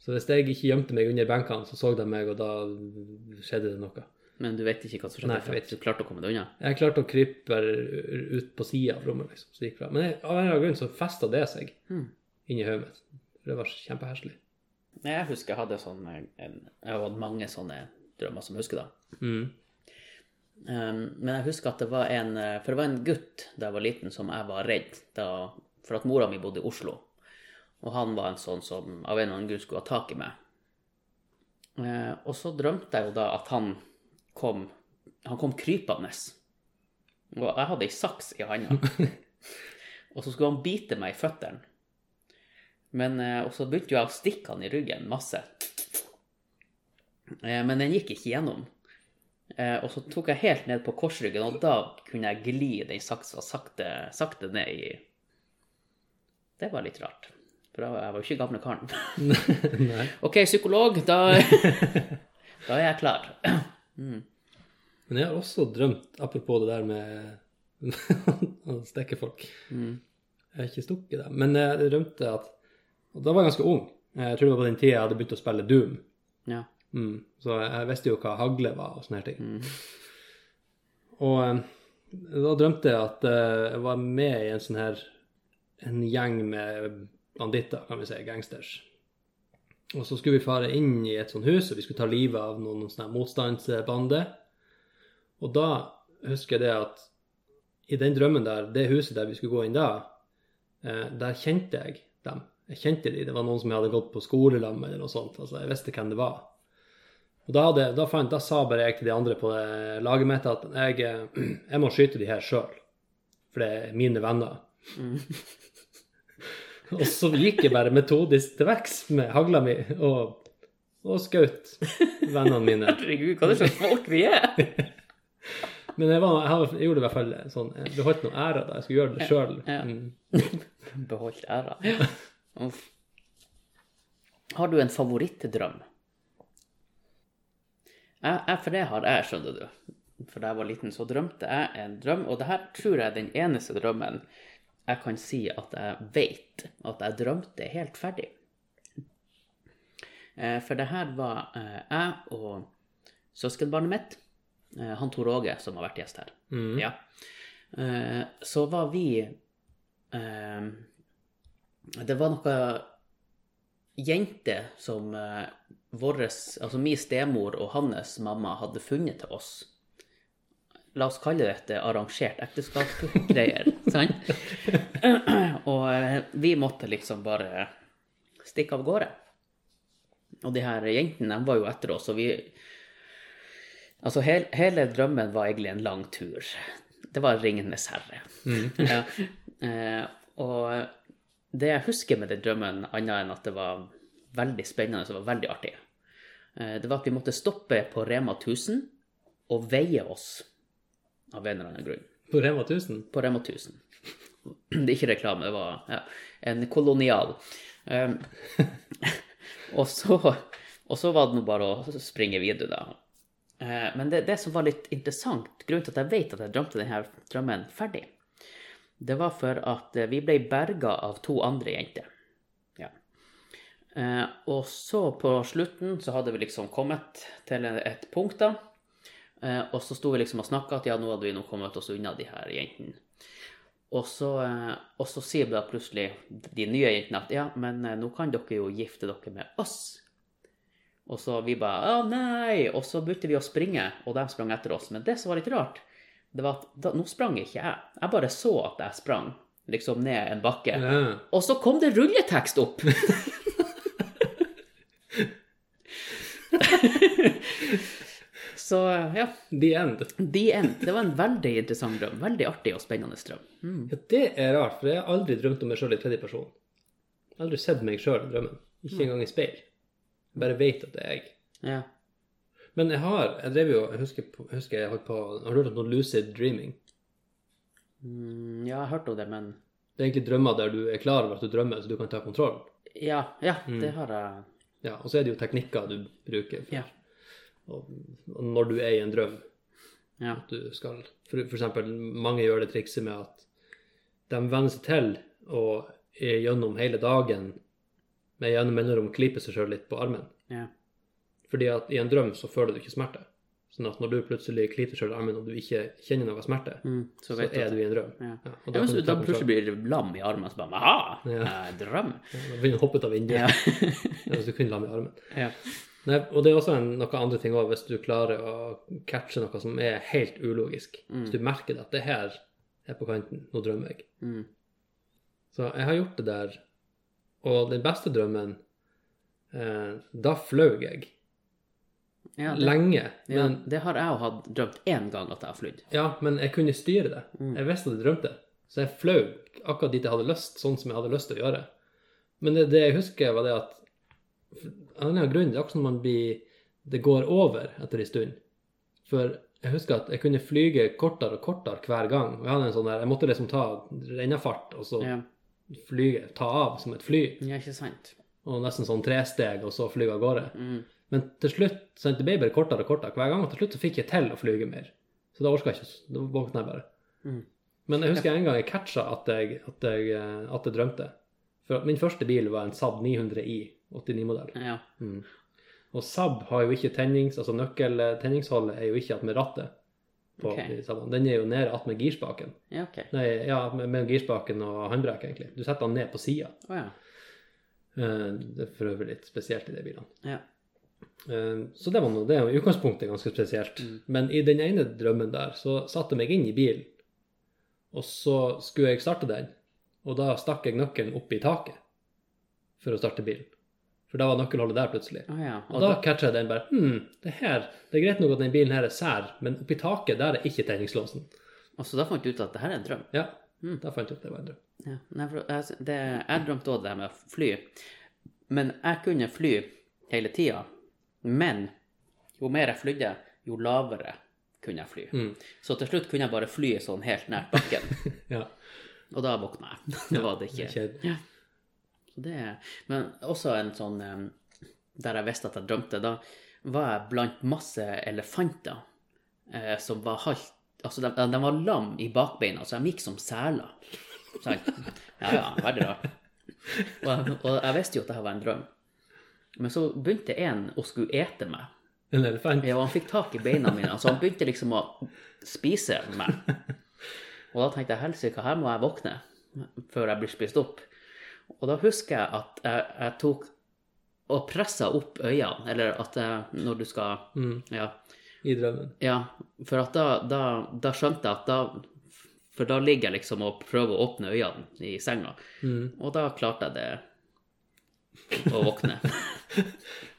B: Så hvis jeg ikke gjemte meg under benkene, så så de meg, og da skjedde det noe.
A: Men du vet ikke hva som skjedde?
B: Nei, jeg vet
A: Du klarte å komme deg unna?
B: Jeg klarte å krype bare ut på sida av rommet, liksom. Så det gikk bra. Men jeg, av en eller annen grunn så festa det seg
A: Mm.
B: inni hodet mitt. Det var kjempeherselig.
A: Nei, Jeg husker jeg hadde sånn en, Jeg har hatt mange sånne drømmer som jeg husker da.
B: Mm.
A: Um, men jeg husker at det var en eh, For det var en gutt da jeg var liten som jeg var redd da, for at mora mi bodde i Oslo. Og han var en sånn som av en eller annen grunn skulle ha tak i meg. Eh, og så drømte jeg jo da at han kom Han kom krypende. Og jeg hadde ei saks i handa. og så skulle han bite meg i føttene. Men, eh, Og så begynte jo jeg å stikke han i ryggen masse. Eh, men den gikk ikke gjennom. Eh, og så tok jeg helt ned på korsryggen, og da kunne jeg gli den saksa sakte, sakte ned i Det var litt rart. For da var- jeg var jo ikke gamle karen.
B: Nei.
A: OK, psykolog, da, da er jeg klar.
B: Men jeg har også drømt, apropos det der med å stikke folk Jeg har ikke stukket dem, men jeg drømte at Og da var jeg ganske ung. Jeg tror det var på den tida jeg hadde begynt å spille Doom.
A: Ja.
B: Mm. Så jeg, jeg visste jo hva hagle var og sånne her ting. Og eh, da drømte jeg at eh, jeg var med i en sånn her En gjeng med banditter, kan vi si. Gangsters. Og så skulle vi fare inn i et sånt hus, og vi skulle ta livet av noen sånne motstandsbande. Og da husker jeg det at i den drømmen der, det huset der vi skulle gå inn da, eh, der kjente jeg dem. Jeg kjente de, det var noen som jeg hadde gått på skole sammen med eller noe sånt, altså jeg visste hvem det var. Og da, hadde, da, fant, da sa bare jeg til de andre på eh, laget mitt at jeg, eh, jeg må skyte de her sjøl, for det er mine venner. Og så gikk jeg bare metodisk til verks med hagla mi og, og skjøt vennene mine.
A: Herregud, hva er det slags folk vi er?
B: Men jeg, var, jeg, har- jeg gjorde i hvert fall sånn Jeg beholdt noe ære da. Jeg skulle gjøre det sjøl.
A: Ja.
B: Mm.
A: Beholdt æra. Uff. Har du en favorittdrøm? Jeg, jeg, for det har jeg, skjønner du. For da jeg var liten, så drømte jeg en drøm, og det her tror jeg er den eneste drømmen jeg kan si at jeg vet at jeg drømte helt ferdig. Eh, For det her var eh, jeg og søskenbarnet mitt, eh, han Tor Åge, som har vært gjest her.
B: Mm.
A: Ja. Eh, så var vi eh, Det var noen jenter som eh, våres, altså min stemor og hans mamma hadde funnet til oss. La oss kalle dette arrangert ekteskapsgreier, sant? og eh, vi måtte liksom bare stikke av gårde. Og de her jentene de var jo etter oss, og vi Altså, hel, hele drømmen var egentlig en lang tur. Det var 'Ringenes herre'. ja. eh, og det jeg husker med den drømmen, annet enn at det var veldig spennende og det var veldig artig, eh, det var at vi måtte stoppe på Rema 1000 og veie oss av en eller annen grunn.
B: På Rema 1000?
A: På Rema 1000. Det er ikke reklame, det var ja, en kolonial. Eh, og, så, og så var det nå bare å springe videre, da. Eh, Men det, det som var litt interessant, grunnen til at jeg vet at jeg drømte denne drømmen ferdig, det var for at eh, vi ble berga av to andre jenter. Ja. Eh, Og så på slutten så hadde vi liksom kommet til et punkt, da. Eh, Og så sto vi liksom og snakka at ja, nå hadde vi nå kommet oss unna de her jentene. Og så, eh, og så sier da plutselig de nye jentene at ja, men eh, nå kan dere jo gifte dere med oss. Og så vi bare Å, nei! Og så begynte vi å springe, og de sprang etter oss. Men det som var litt rart, det var at da, nå sprang ikke jeg. Jeg bare så at jeg sprang, liksom ned en bakke.
B: Ja.
A: Og så kom det rulletekst opp! så ja,
B: The End.
A: the end. Det var en veldig interessant drøm. Veldig artig og spennende drøm. Mm.
B: Ja, det er rart, for jeg har aldri drømt om meg sjøl i tredje person. Jeg har aldri sett meg sjøl i drømmen. Ikke engang i speil. Jeg bare vet at det er jeg.
A: Ja.
B: Men jeg har Jeg drev jo Jeg husker, på- jeg husker jeg holdt på Har du hørt om noe lucid dreaming?
A: Mm, ja, jeg hørte om det, men
B: Det er egentlig drømmer der du er klar over at du drømmer, så du kan ta kontroll.
A: Ja, ja
B: Mm.
A: det har jeg.
B: Ja, og så er det jo teknikker du bruker for,
A: Ja.
B: og, og når du er i en drøm.
A: Ja.
B: At du skal for, for eksempel, mange gjør det trikset med at de venner seg til og er gjennom hele dagen med gjennom mellomrom klyper seg sjøl litt på armen.
A: ja.
B: Fordi at i en drøm så føler du ikke smerte. Sånn at når du plutselig klipper deg sjøl i armen og du ikke kjenner noe smerte,
A: Mm, så
B: så,
A: vet
B: er
A: du at-
B: du i en drøm.
A: Ja.
B: Ja, og da
A: Ja,
B: kan du
A: men
B: ta
A: da plutselig
B: kontroll.
A: blir du lam i armen, så bare Aha!
B: Ja.
A: eh, Drøm!
B: Ja, da begynner du å hoppe ut av vinduet.
A: Ja.
B: Ja, Hvis du kun lar meg i armen.
A: ja.
B: Nei, og det er også en, noen andre ting også, hvis du klarer å catche noe som er helt ulogisk. Hvis du merker det, at det her er på kanten, nå drømmer jeg.
A: Mm.
B: Så jeg har gjort det der, og den beste drømmen, eh, da fløy jeg.
A: Ja, det,
B: Lenge.
A: ja,
B: Men,
A: det har jeg jo hatt drømt én gang at jeg har flydd. Mm.
B: ja. men jeg kunne styre det. Jeg visste at jeg drømte. Så jeg fløy akkurat dit jeg hadde lyst, sånn som jeg hadde lyst til å gjøre. Men det, det jeg husker var det at, av en eller annen grunn, det er akkurat som man blir, det går over etter en stund. For jeg husker at jeg kunne flyge kortere og kortere hver gang. Og jeg hadde en sånn der, jeg måtte liksom ta rennefart, og så
A: Ja.
B: flyge, ta av som et fly.
A: ja, ikke sant?
B: Og nesten sånn tresteg, og så flyge av gårde.
A: Mm.
B: Men til slutt, så det ble bare kortere og kortere hver gang, og til slutt så fikk jeg til å flyge mer. Så da orket jeg ikke, da våkna jeg bare.
A: Mm.
B: Men jeg husker en gang jeg catcha at jeg, at jeg, eh, at jeg drømte. For at min første bil var en Saab 900i, 89-modell.
A: Ja.
B: Mm. Og Saab har jo ikke tennings, altså nøkkeltenningsholdet er jo ikke at med rattet. På,
A: Ok.
B: de Saabene. Den er jo nede at med girspaken.
A: Ja, OK.
B: Nei, ja, med, med girspaken og håndbrekket, egentlig. Du setter den ned på sida.
A: Å ja.
B: Eh, Eh, Det er for øvrig litt spesielt i de bilene.
A: Ja.
B: Eh, Så det var noe, det er jo i utgangspunktet ganske spesielt.
A: Mm.
B: Men i den ene drømmen der, så satte jeg meg inn i bilen. Og så skulle jeg starte den, og da stakk jeg nøkkelen opp i taket for å starte bilen. For da var nøkkelholdet der plutselig.
A: Å ja.
B: Og da catcha jeg den bare Hm, det her Det er greit nok at den bilen her er sær, men oppi taket, der er ikke tenningslåsen.
A: og så da fant du ut at det her er en drøm?
B: Ja.
A: Mm.
B: Da fant jeg ut det var en drøm.
A: Ja. Nei, for jeg, det, jeg drømte òg det her med å fly. Men jeg kunne fly hele tida. Men jo mer jeg flydde, jo lavere kunne jeg fly.
B: Mm.
A: Så til slutt kunne jeg bare fly sånn helt nært bakken.
B: Ja.
A: og da våkna jeg. Det var det ikke.
B: Kjedelig.
A: Ja. Så det Men også en sånn em, der jeg visste at jeg drømte, da var jeg blant masse elefanter eh, som var halvt Altså, de, de var lam i bakbeina, så de gikk som seler. Sant? Ja, ja, veldig rart. Og, jeg- og jeg visste jo at dette var en drøm. Men så begynte en å skulle ete meg.
B: En elefant.
A: Ja, og han fikk tak i beina mine, så han begynte liksom å spise meg. Og da tenkte jeg helsike, her må jeg våkne før jeg blir spist opp. Og da husker jeg at jeg, jeg tok og pressa opp øynene, eller at jeg, når du skal
B: Mm.
A: Ja.
B: I drømmen.
A: Ja, for at da, da, da skjønte jeg at da For da ligger jeg liksom og prøver å åpne øynene i senga,
B: Mm.
A: og da klarte jeg det å våkne.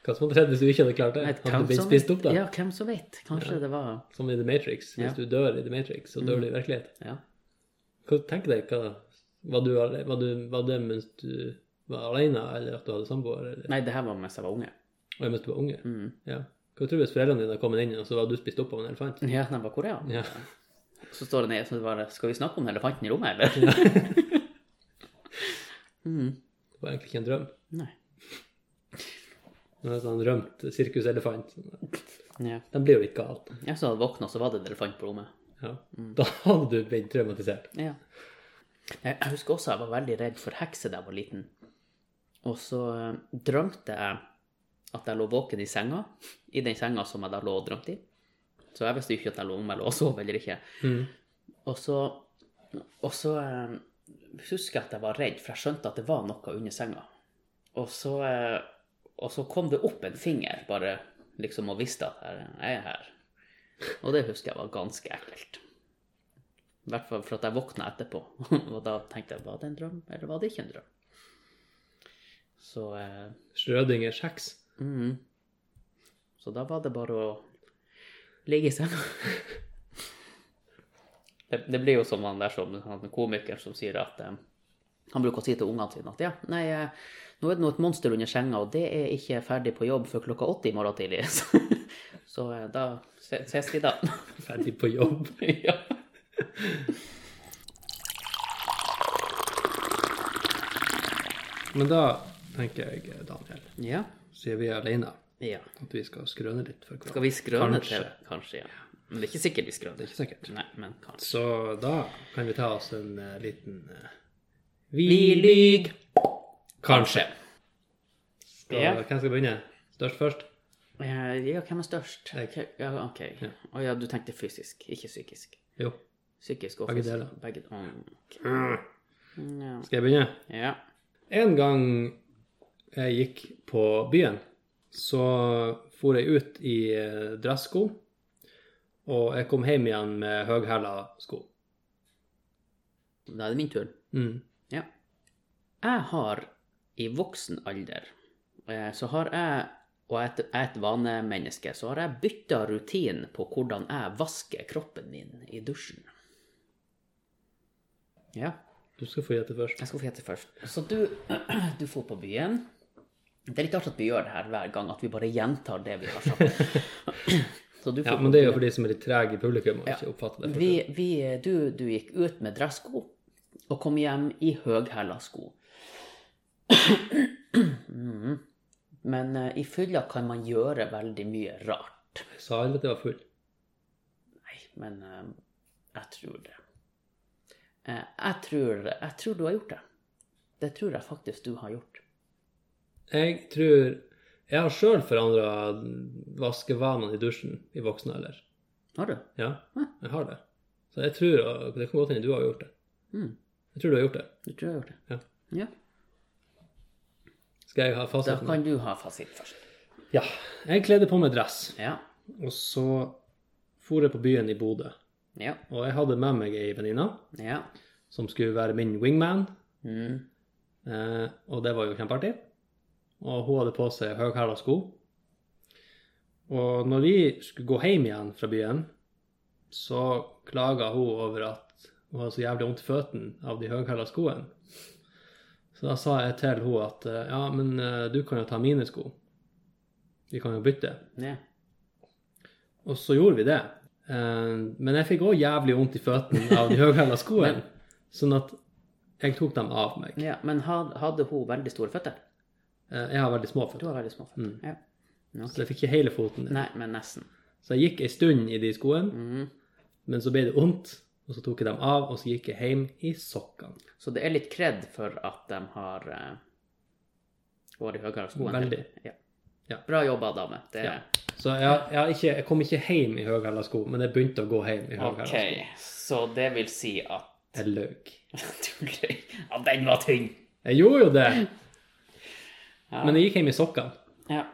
B: Hva som hadde skjedd hvis du ikke hadde klart det? Hadde
A: Hvem
B: du blitt
A: som
B: spist
A: vet?
B: opp, da?
A: Ja, hvem som vet. Kanskje det var
B: Som i The Matrix. Hvis
A: Ja.
B: du dør i The Matrix, så dør du i virkeligheten.
A: Ja.
B: Hva tenker deg, hva var, du, alle- var, du, var det mens du var alene, eller at du hadde samboer, eller
A: Nei, det her var mens jeg var unge.
B: og mens du var unge?
A: Mm.
B: Ja. Hva tror du hvis foreldrene dine hadde kommet inn, og så var du spist opp av en elefant?
A: Ja, den var korean.
B: Ja.
A: Så står det nede sånn bare Skal vi snakke om elefanten i rommet, eller? mm.
B: Det var egentlig ikke en drøm.
A: Nei.
B: Det var en sånn rømt sirkuselefant.
A: Ja.
B: De blir jo litt gale.
A: Jeg så hadde våkna, så var det en elefant på rommet.
B: Ja. Da hadde du blitt traumatisert.
A: Ja. Jeg jeg husker også jeg var veldig redd for hekser da jeg var liten. Og så eh, drømte jeg at jeg lå våken i senga, i den senga som jeg da lå og drømte i. Så jeg visste jo ikke at jeg lå om jeg lå og sov eller ikke.
B: Mm.
A: Og så, og så eh, husker jeg at jeg var redd, for jeg skjønte at det var noe under senga. Og så, eh, og så kom det opp en finger, bare liksom og visste at jeg jeg er her. Og det husker jeg var ganske ekkelt. I hvert fall for at jeg våkna etterpå. Og da tenkte jeg, var det en drøm, eller var det ikke en drøm? Så, eh,
B: Schrødingers heks.
A: mm. så da var det bare å ligge i senga. Det, det blir jo som han der som han komikeren som sier at eh, Han bruker å si til ungene sine at ja, nei, eh, nå er det nå et monster under senga, og det er ikke ferdig på jobb før klokka åtte i morgen tidlig. Så, så eh, da se- ses vi da.
B: Ferdig på jobb.
A: ja.
B: Men da tenker jeg, Daniel,
A: ja.
B: siden vi er alene,
A: Ja.
B: at vi skal skrøne litt for hverandre.
A: Skal vi skrøne
B: Kanskje.
A: til det? Kanskje, ja. Men det er ikke sikkert vi
B: Det
A: skrøner.
B: er ikke sikkert.
A: Nei, men kanskje.
B: Så da kan vi ta oss en eh, liten eh,
A: Vi lyg!
B: Kanskje. Skal,
A: Ja.
B: Hvem skal begynne? Størst først?
A: Eh, Ja, hvem er størst?
B: Jeg.
A: Ja, ok. Å ja, du tenkte fysisk, ikke psykisk.
B: Jo.
A: Psykisk og
B: Begge
A: fysisk.
B: deler.
A: Begge deler. Ja.
B: Skal jeg begynne?
A: ja.
B: En gang jeg gikk på byen, så for jeg ut i eh, dressko, og jeg kom hjem igjen med høghæla sko.
A: Da er det min tur.
B: Mm.
A: Ja. Jeg har i voksen alder eh, så har jeg, og jeg er et- jeg er et vanemenneske, så har jeg bytta rutin på hvordan jeg vasker kroppen min i dusjen. Ja.
B: Du skal få gjette først.
A: Jeg skal få gjette først. Så du, du får på byen. Det er litt artig at vi gjør det her hver gang, at vi bare gjentar det vi har sagt. Så du får
B: Ja, men det er jo for de som er litt trege i publikum og ikke oppfatter det.
A: vi, vi, du, du gikk ut med dressko og kom hjem i høghæla sko. Mhm. Men eh, i fylla kan man gjøre veldig mye rart.
B: Jeg sa aldri at jeg var full.
A: Nei, men eh, jeg tror det. Eh, jeg, tror, jeg tror du har gjort det. Det tror jeg faktisk du har gjort.
B: Jeg tror Jeg har sjøl forandra vaskevanene i dusjen i voksen alder.
A: Har du?
B: Ja,
A: Hæ?
B: jeg har det. Så jeg tror Det kan godt hende du har gjort det.
A: Mm.
B: Jeg tror du har gjort det.
A: Du tror jeg har gjort det?
B: Ja.
A: Ja.
B: Skal jeg ha
A: Da
B: fasiten?
A: kan du ha fasit først.
B: Ja. Jeg kledde på meg dress,
A: Ja.
B: og så for jeg på byen i Bodø.
A: Ja.
B: Og jeg hadde med meg ei venninne
A: Ja.
B: som skulle være min wingman,
A: Mm.
B: eh, og det var jo kjempeartig. Og hun hadde på seg høyhæla sko. Og når vi skulle gå hjem igjen fra byen, så klaga hun over at hun hadde så jævlig vondt i føttene av de høyhæla skoene. Så da sa jeg til hun at eh, ja, men eh, du kan jo ta mine sko. Vi kan jo bytte.
A: ja.
B: Og så gjorde vi det. Eh, Men jeg fikk òg jævlig vondt i føttene av de høyhæla skoene. Sånn at jeg tok dem av meg.
A: ja. Men had- hadde hun veldig store føtter?
B: Eh, Jeg har veldig små
A: Du
B: føtter,
A: har veldig små føtter. Ja.
B: Mm. så jeg fikk ikke hele foten. ned.
A: Nei, men nesten.
B: Så jeg gikk ei stund i de skoene,
A: Mm.
B: men så ble det vondt. Og så tok jeg dem av, og så gikk jeg hjem i sokkene.
A: Så det er litt kred for at de har eh, vært høyere sko enn
B: Veldig.
A: deg. Ja.
B: Ja.
A: Bra jobba, dame. Det
B: Ja. Så jeg, jeg, har ikke, jeg kom ikke hjem i høyhæla sko, men jeg begynte å gå hjem i høyhæla
A: OK,
B: sko.
A: så det vil si at
B: Jeg løy.
A: Du greier Ja, den var tynn!
B: Jeg gjorde jo det,
A: Ja.
B: men jeg gikk hjem i sokkene.
A: ja.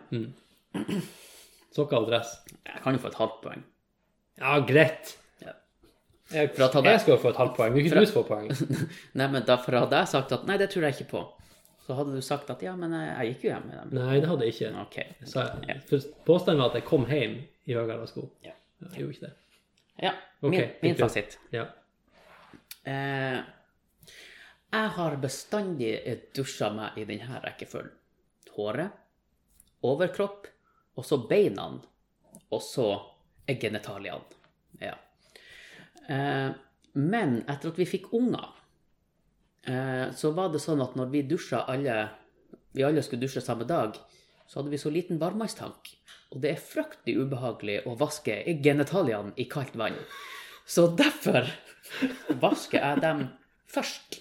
B: Sokker og dress.
A: Jeg kan jo få et halvt poeng.
B: Ja, greit.
A: Ja.
B: Jeg,
A: For å ta det-
B: jeg skal jo få et halvt poeng. Vil
A: For å-
B: ikke du få poeng?
A: Nei, men derfor hadde jeg sagt at nei, det tror jeg ikke på. Så hadde du sagt at ja, men jeg, jeg gikk jo hjem med dem.
B: Nei, det hadde jeg ikke.
A: OK.
B: Jeg sa, for påstanden var at jeg kom hjem i høyere sko.
A: Ja.
B: Jeg gjorde ikke det.
A: ja
B: Ok,
A: min, min
B: fikk du.
A: fasit.
B: Ja.
A: Eh, jeg har bestandig dusja meg i denne rekkefølgen. Håret, overkropp, og så beina, og så genitaliene. Ja. Eh, men etter at vi fikk unger, eh, så var det sånn at når vi dusja alle Vi alle skulle dusje samme dag, så hadde vi så liten varmtvannstank. Og det er fryktelig ubehagelig å vaske genitaliene i kaldt vann. Så derfor vasker jeg dem først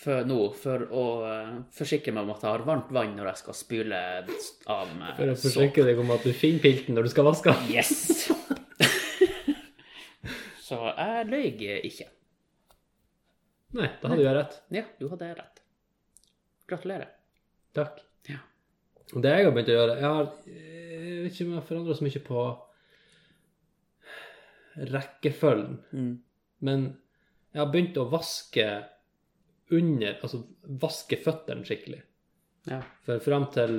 A: før nå, for å eh, forsikre meg om at jeg har varmt vann når jeg skal spyle av meg sånn.
B: For å
A: såpe.
B: forsikre deg om at du finner pilten når du skal vaske.
A: Yes! Så jeg løy ikke.
B: Nei, da hadde jeg rett.
A: Ja, du hadde rett. Gratulerer.
B: Takk.
A: Ja.
B: Og Det jeg har begynt å gjøre Jeg har jeg vet ikke om jeg har forandra så mye på rekkefølgen, men jeg har begynt å vaske under Altså vaske føttene skikkelig.
A: Ja.
B: For fram til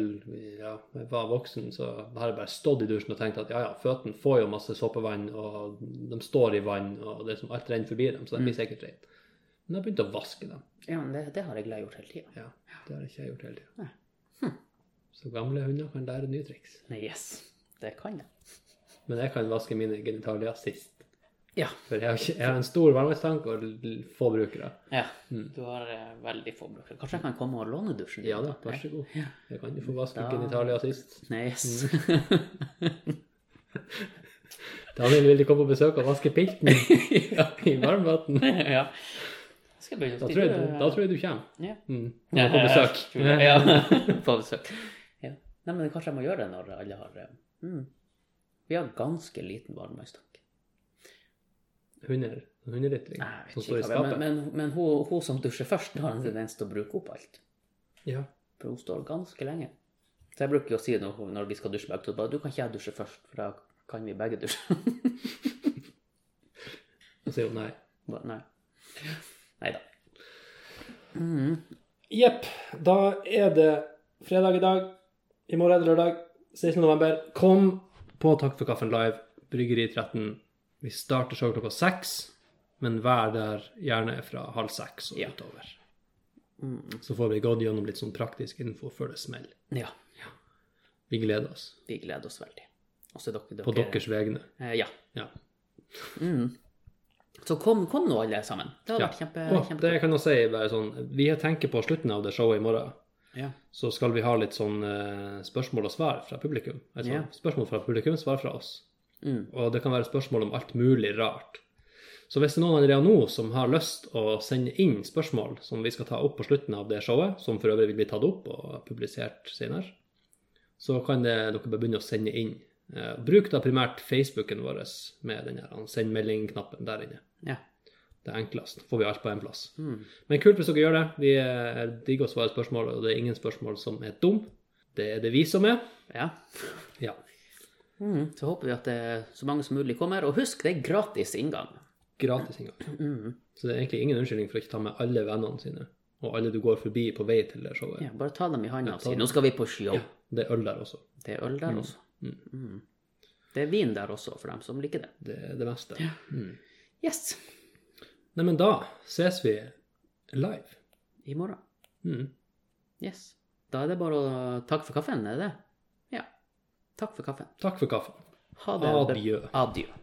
B: ja, jeg var voksen, så har jeg bare stått i dusjen og tenkt at ja, ja, føttene får jo masse såpevann, og de står i vann, og det er som alt renner forbi dem, så de blir sikkert rene. Men jeg har begynt å vaske dem.
A: ja, men det, det har jeg glad gjort hele tida.
B: Ja, det har ikke jeg gjort hele
A: Nei.
B: tida. Så gamle hunder kan lære nye triks.
A: Yes, det kan jeg.
B: Men jeg kan vaske mine genitalier sist.
A: Ja.
B: For jeg har, ikke, jeg har en stor varmetank og l- få brukere.
A: ja. Du har eh, veldig få brukere. Kanskje jeg kan komme og låne dusjen? din?
B: Mm. Ja da, vær så god. Jeg kan jo få vaske
A: Da-
B: genitalier sist.
A: Nei, yes.
B: Mm. Daniel ville komme på besøk og vaske pilten i varmvann.
A: ja. Skal jeg begynne å
B: Da, tror
A: styre?
B: jeg du- da tror jeg du kommer.
A: Ja.
B: Mm. På besøk.
A: Ja, på besøk. Ja. Nei, men kanskje jeg må gjøre det når alle har eh, mm. Vi har ganske liten varmtvannstank.
B: Hunder. Hundelitring
A: Nei, jeg
B: som
A: vet
B: står i
A: ikke hva- Men,
B: skapet.
A: men, men hun, hun som dusjer først, har en tendens til å bruke opp alt.
B: Ja.
A: For hun står ganske lenge. Så jeg bruker jo å si når, når vi skal dusje begge to, bare du kan ikke jeg dusje først, for da kan vi begge dusje.
B: Og sier hun nei.
A: Bare, Nei. Nei da. Mm,
B: Jepp. Da er det fredag i dag. I morgen er det lørdag. 16. november. Kom på Takk for kaffen live, Bryggeri 13. Vi starter showet klokka seks, men vær der gjerne fra halv seks og
A: Ja. Mm.
B: utover. Så får vi gått gjennom litt sånn praktisk info før det smeller.
A: Ja.
B: Vi gleder oss.
A: Vi gleder oss veldig. Og så er dere, dere
B: På deres vegne.
A: Eh, ja. Mm.
B: Ja.
A: Så kom, kom nå, alle sammen. Det har
B: ja.
A: vært kjempe...
B: Og
A: kjempe...
B: det jeg kan jo si, bare sånn Vi tenker på slutten av det showet i morgen.
A: Ja.
B: så skal vi ha litt sånn eh, spørsmål og svar fra publikum. Altså,
A: Ja.
B: Spørsmål fra publikum, svar fra oss.
A: Mm.
B: Og det kan være spørsmål om alt mulig rart. Så hvis det er noen allerede nå som har lyst å sende inn spørsmål som vi skal ta opp på slutten av det showet, som for øvrig vil bli tatt opp og publisert senere, så kan det, dere bare begynne å sende inn. Eh, bruk da primært Facebooken vår med den her, han send melding-knappen der inne.
A: Ja.
B: Det er enklest. Får vi alt på én plass.
A: Mm.
B: Men kult hvis dere gjør det. Vi eh, digger å svare spørsmål, og det er ingen spørsmål som er dum. Det er det vi som er.
A: Ja.
B: Ja.
A: Mm. Så håper vi at eh, så mange som mulig kommer. Og husk, det er gratis inngang.
B: Gratis inngang.
A: Mm.
B: Så det er egentlig ingen unnskyldning for å ikke ta med alle vennene sine, og alle du går forbi på vei til det showet.
A: Ja, bare ta dem i handa
B: Ja,
A: og
B: ta
A: si
B: dem.
A: 'nå skal vi på show'.
B: Ja, Det er øl der også.
A: Det er øl der også.
B: Mm.
A: Mm. Det er vin der også, for dem som liker det.
B: Det er det meste.
A: Ja.
B: Mm.
A: Yes!
B: Nei, men da ses vi live.
A: I morgen.
B: Mm.
A: Yes. Da er det bare å takke for kaffen, er det det? Ja. Takk for kaffen.
B: Takk for kaffen.
A: Ha det.
B: Adjø.
A: Adjø.